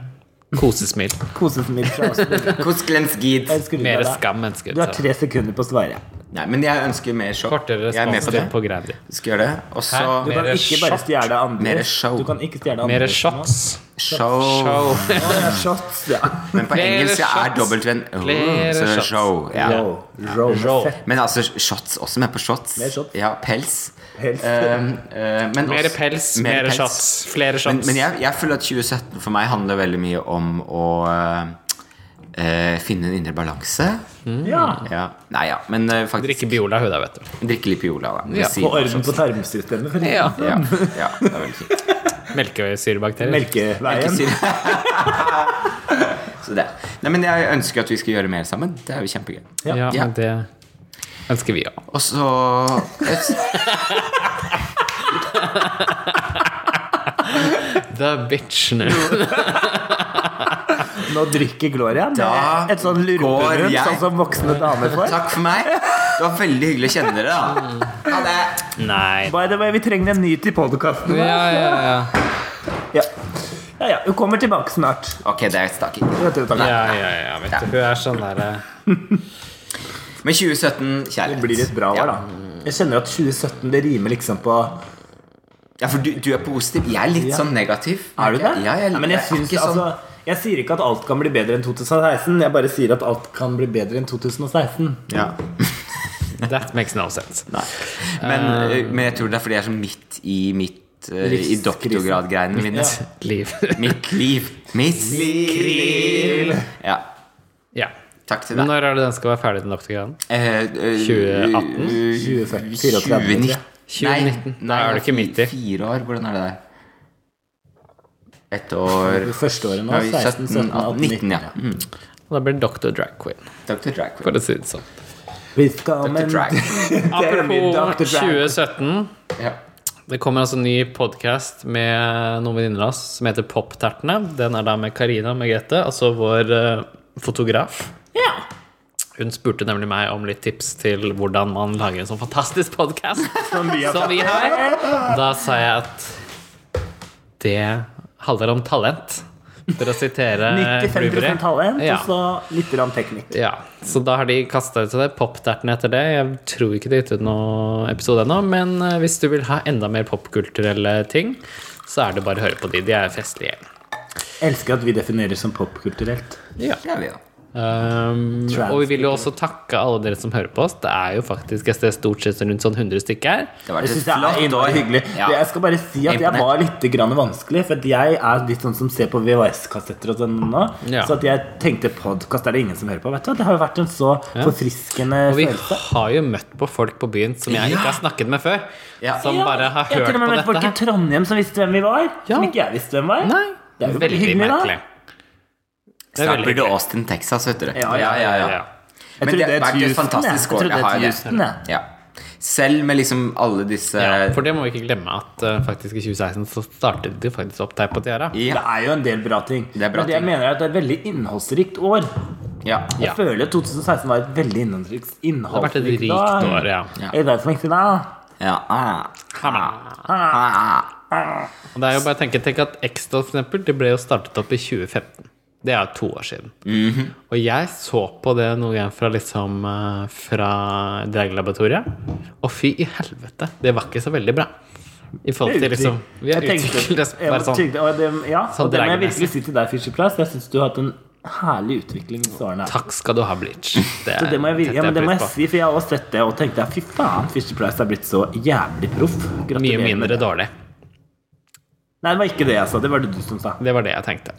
Kosesmil.
Kosesmil fra oss. Hva
Kosklens gid.
ønsker du
Mer
deg, da?
skam, ønsker
Du har
jeg.
tre sekunder på å svare.
Nei, men jeg ønsker mer show.
Kortere
Jeg er med på det.
responstid på Grandi.
Skal gjøre det. Og så
Hæ?
Du kan
Mere
ikke bare
shot.
stjele andre.
Mere show.
Du kan ikke stjele andre.
Mere shots.
show.
Show.
Ja, shots, ja.
Men på
Flere
engelsk så er
shots.
dobbeltvenn
Flere
Så
shots.
show. Ja.
Ja.
Row. Row.
Row.
Fett
Men altså shots også med på shots.
Mer shots.
Ja, pels.
Pels.
Um,
Eh, eh, men
Mere
også-
pels,
Mere
mere
pels.
shots, flere
Men,
shots.
men jeg, jeg føler at 2017 for meg handler veldig mye om å eh, eh, finne en indre balanse.
Ja.
Ja. Nei, ja. Men eh, faktisk
Drikke Biola Huda, vet du.
drikke litt Piola, da. ved
Ja.
siden
Få
av
orden
shots.
på Eh, tarmsystemet. For
Ja.
Ja, ja, det er veldig fint.
Melkesyrebakterier.
Ikke
Melkeveien.
si det. Så det. Nei, men jeg ønsker at vi skal gjøre mer sammen. Det er jo kjempegøy.
Ja,
Ja.
men det ønsker vi òg.
Og så
The bitch nå.
Nå drikker Gloria med
Da
et sånn
går
lurperundt,
jeg.
sånn som voksne damer får.
Takk for meg. Det var veldig hyggelig å kjenne dere, da. Ha det.
Nei.
By the way, vi trenger en ny til podkasten.
Ja, ja, ja.
Ja. Ja, ja, hun kommer tilbake snart.
Ok, det er et stakk.
Vet du, takk.
ja, ja, ja vet du. Hun er sånn derre
Men 2017,
Det
kjærlighet.
blir et bra år, da. Jeg kjenner at 2017 det rimer liksom på
Ja, for du, du er positiv. Jeg er litt sånn negativ.
Er du det?
Ja, jeg,
men jeg,
er
syns,
ikke sånn-
altså, jeg sier ikke at alt kan bli bedre enn 2016. Jeg bare sier at alt kan bli bedre enn 2016.
ja.
That makes no sense.
men, eh, men jeg tror det er fordi jeg er sånn midt i mitt eh, I
Livskrisen.
doktorgradgreiene mine.
Ja.
Liv.
Mitt liv. Mitt liv. Ja.
Ja.
Takk til
Men
deg.
når er det den skal være ferdig, den doktorgraden?
Eh, eh,
2018?
2034, tror jeg.
2019.
2019. Da er du ikke midt i.
Fire år. Hvordan er det der? Ett år
Det første året nå.
Ja, vi-
16, 17, 18, 19.
19, ja. Mm.
Og da blir det Dr. Drag Queen.
Dr. Drag Queen.
For å si det sånn.
Vi skal om
Dr.
en
Drag.
Dr.
Apropos
Drag.
2017.
Ja.
Det kommer altså en ny podkast med noen venninner av oss som heter Poptertene. Den er da med Karina Megrete, altså vår eh, fotograf.
Ja.
Hun spurte nemlig meg om litt tips til hvordan man lager en sånn fantastisk podkast som
vi har fått.
vi har. Da sa jeg at det handler om talent, for å sitere
95
eh, Blueberry.
talent,
Ja.
og så litt grann teknikk.
Ja, så da har de kasta ut det. Popterten etter det. Jeg tror ikke de har gitt ut noen episode ennå, men eh, hvis du vil ha enda mer popkulturelle ting, så er det bare å høre på de. De er festlige.
Elsker at vi defineres som popkulturelt.
Ja.
Det er vi, da.
Um, og vi vil jo også takke alle dere som hører på oss. Det er jo faktisk et sted stort sett rundt sånn 100 stykker.
Det var
Jeg
litt
synes det er
flott
innmari
år.
hyggelig.
Ja.
Det- Jeg skal bare si at jeg
Imponert.
var litt grann vanskelig. For at jeg er litt sånn som ser på VHS-kassetter og sånn nå.
Ja.
Så at jeg tenkte podkast er det ingen som hører på. Vet du? hva? Det har jo vært en så forfriskende
Og vi
følelse.
har jo møtt på folk på byen som jeg ikke har snakket med før.
Ja.
Som bare har
jeg har
hørt
til og med
på
møtt folk
dette
i
her.
Trondheim som visste hvem vi var. Som
Ja.
ikke jeg visste hvem var.
Nei,
Det er jo
veldig
hyggelig, da.
merkelig. Det er
Snart
veldig
blir det
hyggelig.
Austin, Texas, vet dere.
Ja, ja, ja,
Ja.
Jeg
Men
tror
det
det
har
er
vært et
Houston, jeg.
fantastisk
Jeg
år.
tror det
Det
er
har jo
Houston,
det.
jeg.
Ja. Selv med liksom alle disse
Ja, Eh, for det må vi ikke glemme at eh, faktisk i 2016 så startet de faktisk opp Teip på Tiara.
Det
Ja.
er jo en del bra ting.
Det er bra
Men det jeg
ting.
mener er at det er et veldig innholdsrikt år.
ja.
Jeg
Ja.
føler at 2016 var et veldig innholdsrikt
Det har vært et
innholdsrikt
rikt år, ja.
Ja.
Er det som ikke da?
ja. Ah. Ah.
Og det er jo bare å tenke, tenk at Extra for eksempel, det ble jo startet opp i 2015. Det er jo to år siden. Og jeg så på det noen ganger fra liksom eh, Fra Dragelaboratoriet. Og fy i helvete, det var ikke så veldig bra. I forhold til liksom Vi har
Jeg tenkte-
utviklet oss
jeg
bare sånn.
tenkte- og det, ja,
sånn
og det må jeg
dragemessig.
virkelig si til deg, Fisher Price. Jeg syns du har hatt en herlig utvikling disse årene.
Takk skal du ha, Bleach. Det,
Så det må jeg, vir-
setter
ja, men det må
pris
jeg
på.
si, for jeg har også sett det og tenkte fy faen, Fisher Price er blitt så jævlig proff. Gratulerer
Mye
med
mindre
det.
dårlig.
Nei, det var ikke det jeg sa. Det var det du som sa.
Det var det jeg tenkte.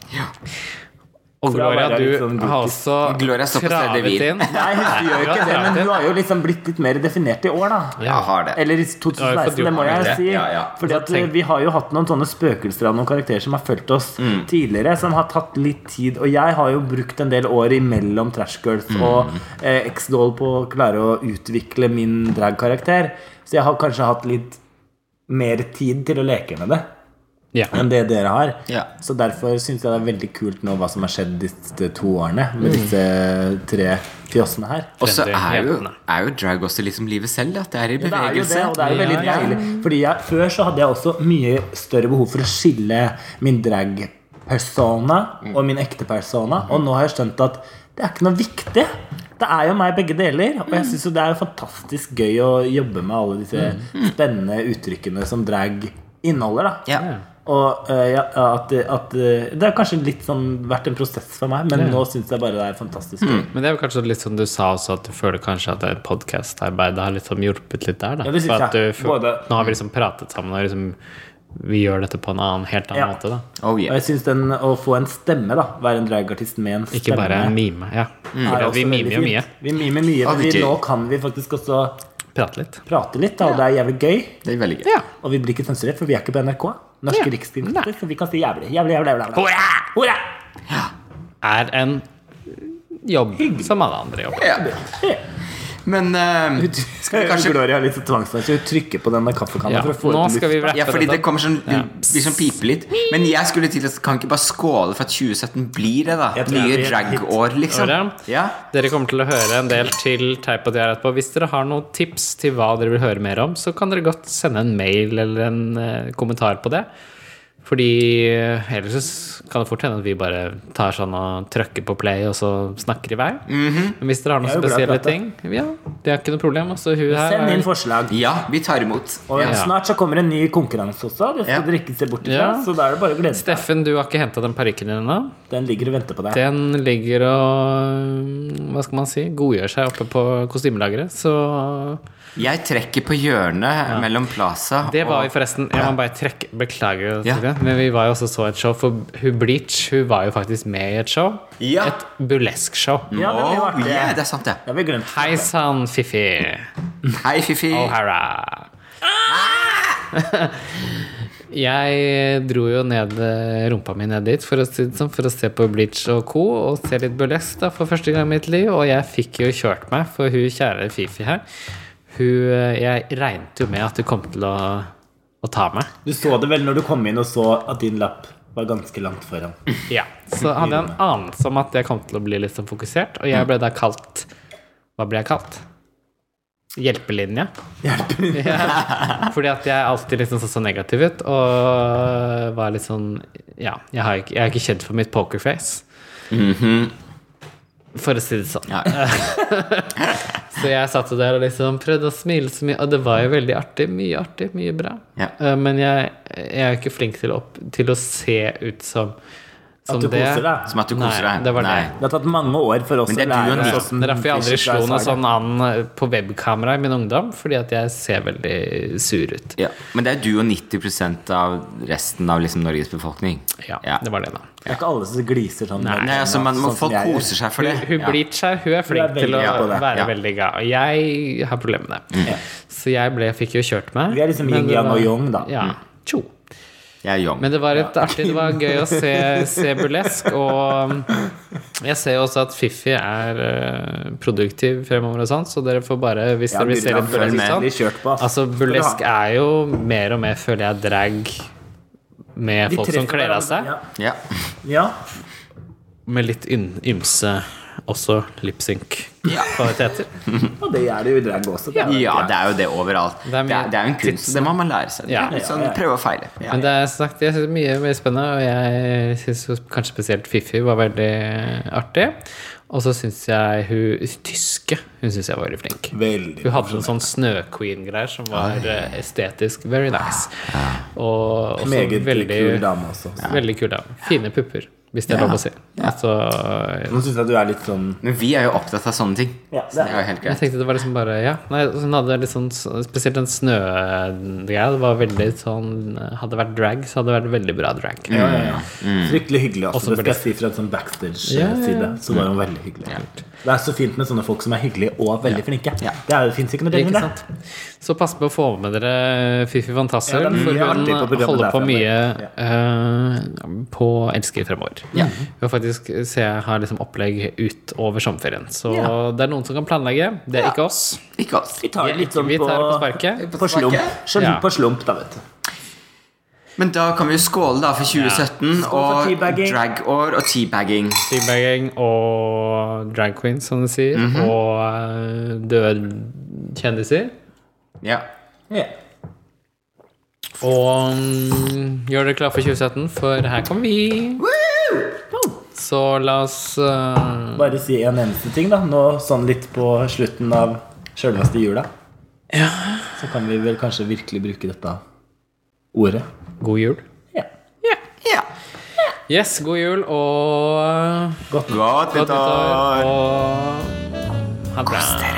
Og
For da var
Gloria,
jeg
du
litt sånn
har
brokis.
også
Gloria er såpass
travet
redevil.
inn.
Nei, hun gjør jo ikke det, men hun har jo liksom blitt litt mer definert i år, da.
Jeg har det.
Eller i
Ja, for
2016,
du-
det må jeg
ja,
si.
ja, ja.
Fordi at eh, Vi har jo hatt noen sånne spøkelser av noen karakterer som har fulgt oss
Mm.
tidligere, som har tatt litt tid. Og jeg har jo brukt en del år imellom Trash Girls
Mm.
og eh, X-Doll på å klare å utvikle min dragkarakter. Så jeg har kanskje hatt litt mer tid til å leke med det
Ja.
enn det dere har.
Ja.
Så derfor syns jeg det er veldig kult nå hva som har skjedd disse to årene
Mm.
med disse tre fjossene her.
Og så
Trendy
er jo,
jentene.
er jo drag også liksom livet selv. At det er i
Det er jo det,
bevegelse.
og det er jo veldig
Ja, ja.
deilig. Fordi jeg, Før så hadde jeg også mye større behov for å skille min drag-persona og min ekte persona, og nå har jeg skjønt at det er ikke noe viktig. Det er jo meg begge deler, og jeg syns jo det er jo fantastisk gøy å jobbe med alle disse spennende uttrykkene som drag inneholder, da.
Ja.
Og eh, ja, at, at eh, Det har kanskje litt sånn vært en prosess for meg, men nå syns jeg bare det er fantastisk gøy.
Men det er jo kanskje litt som du sa også, at du føler kanskje at podkastarbeidet har liksom hjulpet litt der, da.
Ja, det synes
For at
jeg.
du, for,
Både-
Nå har vi liksom pratet sammen, og liksom vi gjør dette på en annen, helt annen
Ja.
måte, da.
Oh,
Og
yeah.
jeg syns den å få en stemme, da, være en dragartist med en stemme
Ikke bare mime. Ja.
Mm.
er
For
også
Vi mimer
veldig
jo mye.
fint. Mm. Vi mimer mye,
Ja,
men
det
vi,
er gøy.
nå kan vi faktisk også
Prate litt.
prate litt, da, og det er jævlig gøy.
Det er veldig gøy.
Ja.
Og vi blir ikke sensurert, for vi er ikke på NRK. Norske
Ja.
Rikskringkaster,
Nei.
så vi kan si jævlig, jævlig, jævlig. jævlig.
Hurra!
Hurra!
Er en jobb som alle andre jobber.
Ja. Men eh, skal vi kanskje
Gloria har litt sånn tvangsmessig. Hun trykker på denne kaffekanna
Ja.
for å få
Nå
ut
skal vi
luft.
rappe
Ja, fordi det
dette.
kommer sånn Det blir sånn pipe litt. Men jeg skulle til å Kan ikke bare skåle for at 2017 blir det, da?
Jeg tror jeg
Nye
blir helt-
drag-år, liksom.
Hører jeg?
Ja.
Dere kommer til å høre en del til Teip og Tiara etterpå. Hvis dere har noen tips til hva dere vil høre mer om, så kan dere godt sende en mail eller en eh, kommentar på det. Fordi eh, ellers så s- kan det fort hende at vi bare tar sånn og trykker på play, og så snakker i vei. Men hvis dere har noen
Jeg er Mhm. jo glad i å
spesielle
prate.
ting, ja, det er ikke noe problem. Altså, hun her
Send inn
er
forslag.
ja, vi tar imot.
Og
Ja.
snart så kommer en ny konkurranse også. Det skal
Ja.
dere ikke se bort ifra.
Ja.
Så da er det bare å glede seg.
Steffen, du har ikke henta den parykken din ennå.
Den ligger og venter på deg.
Den ligger og mm, Hva skal man si? Godgjør seg oppe på kostymelageret. Så
Jeg trekker på hjørnet mellom Plaza
Det var vi
og
forresten Jeg må bare trekke Beklager,
Ja.
Sofie, men vi var jo også så et show. For hun Bleach hun var jo faktisk med i et show.
Ja.
Et burlesk-show.
Ja, det blir
Oh,
artig.
yeah, det er sant, det.
Det har vi glemt.
Hei sann, Fifi
Hei, Fifi.
O'Hara. Jeg dro jo ned eh, rumpa mi ned dit for å, si det sånn, for å se på Bleach og co. og se litt burlesk da, for første gang i mitt liv. Og jeg fikk jo kjørt meg, for hun kjære Fifi her hun, eh, Jeg regnet jo med at hun kom til å, å ta meg.
Du så det vel når du kom inn og så at din lapp var ganske langt foran. Mm.
Ja, så hadde jeg en anelse om at jeg kom til å bli litt sånn fokusert, og jeg ble da kalt Hva blir jeg kalt? Hjelpelinja.
Hjelper.
Ja. Fordi at jeg alltid liksom så, så negativ ut, og var litt sånn Ja, jeg, har ikke, jeg er ikke kjent for mitt pokerface,
Mm-hmm.
for å si det sånn.
Ja.
Så jeg satt jo der og liksom prøvde å smile så mye, og det var jo veldig artig. Mye artig, mye bra.
Ja.
Eh, Men jeg, jeg er jo ikke flink til å, opp, til å se ut som, som
At du
det.
koser deg.
Som at du koser
Nei,
deg.
det var
Nei.
det.
Det har tatt mange år for oss
Men det
å
er du og
lære sånn
du.
oss
Det er derfor jeg aldri
Fisher
slo noe
Price-saga.
sånn an eh, på webkamera i min ungdom, fordi at jeg ser veldig sur ut.
Ja. Men det er du og 90 av resten av liksom Norges befolkning.
Ja,
Ja.
det var det, da.
Det er ikke alle som gliser sånn.
Nei, altså, man, man,
sånn som
Folk
jeg gjør.
koser seg for det.
Hun
Ja.
blir seg, hun er flink
Hun er
til å
veldig på det.
være
Ja. Mm.
veldig ga. Og jeg har problemer med det. Så jeg ble, fikk jo kjørt meg.
Vi er liksom
men det
yin-yang
var-
og yang, da.
Mm.
Ja. Tjo.
Jeg er young.
Men det var et artig, det var gøy å se, se burlesk, og um, jeg ser jo også at Fiffi er eh, produktiv fremover og sånn, så dere får bare, hvis
Ja,
dere vil se
Miriam
litt burlesk
følger med.
sånn
Blir kjørt på, ass.
Altså, burlesk
Skal
er jo mer og mer, føler jeg, drag med
De
folk som
treffer
kler av
hverandre.
seg,
ja.
Ja.
med litt ym- ymse også lip-sync-kvaliteter.
ja, og det gjør det jo i drag også. det er jo
ja,
greit.
det er jo det overalt.
Det
Det
er
er,
mye
det er, jo en kunst,
tids-
og det må man lære seg. Det
Ja.
er litt sånn,
Ja, ja.
prøve og feile. Ja.
Men det er som sagt, jeg synes mye mer spennende, og jeg syns kanskje spesielt Fifi var veldig artig. Og så syns jeg hun tyske Hun syns jeg var veldig flink.
Veldig
Hun hadde noen sånn snøqueen-greier som var eh, estetisk very nice. Og også
Meget
veldig
kul dame også.
Veldig kul dame. Fine pupper, hvis det er
Ja.
lov å si.
Ja.
Så
Nå syns jeg du er litt sånn
Men vi er jo opptatt av sånne ting.
Ja, det
så det
er-
er jo helt
jeg
greit.
tenkte det var liksom bare Ja. Nei, hun hadde litt sånn Spesielt den snøgreia. Det var veldig sånn Hadde det vært drag, så hadde det vært veldig bra drag.
ja, ja, ja.
Mm.
Fryktelig hyggelig.
Også
Altså. Det
burde-
skal jeg si fra en sånn
Ja, ja, ja.
backstage-side. Så var hun veldig hyggelig. Det er så fint med sånne folk som er hyggelige og veldig flinke.
Ja.
Det, er- det fins ikke noe bedre
Ikke
enn det.
sant? Så pass på å få med dere eh, Fifi Van Tassel,
Ja, det er mye
for hun
artig på programmet
holder
der
på
fremover.
mye eh, på Elsker fremover.
Ja.
Hun har faktisk ser jeg har liksom opplegg utover sommerferien. Så det er noen som kan planlegge. Det er ikke oss.
Ikke oss.
Vi tar
Vi
det litt sånn
vi
på,
tar det på sparket.
på slump. Slump,
Ja.
På slump, da, vet du.
Men da kan vi jo skåle da for 2017
for
og
teabagging.
drag-år og teabagging.
Teabagging og drag queens, som de sier.
Mhm.
Og eh, døde kjendiser.
Ja.
Ja.
Og mm, gjør dere klar for 2017, for her kommer vi. Så la oss eh,
Bare si en eneste ting, da. Nå sånn litt på slutten av sjølveste jula. Så kan vi vel kanskje virkelig bruke dette ordet.
God jul.
Ja.
ja.
Yes, god jul og
Godt nyttår!
og ha det bra.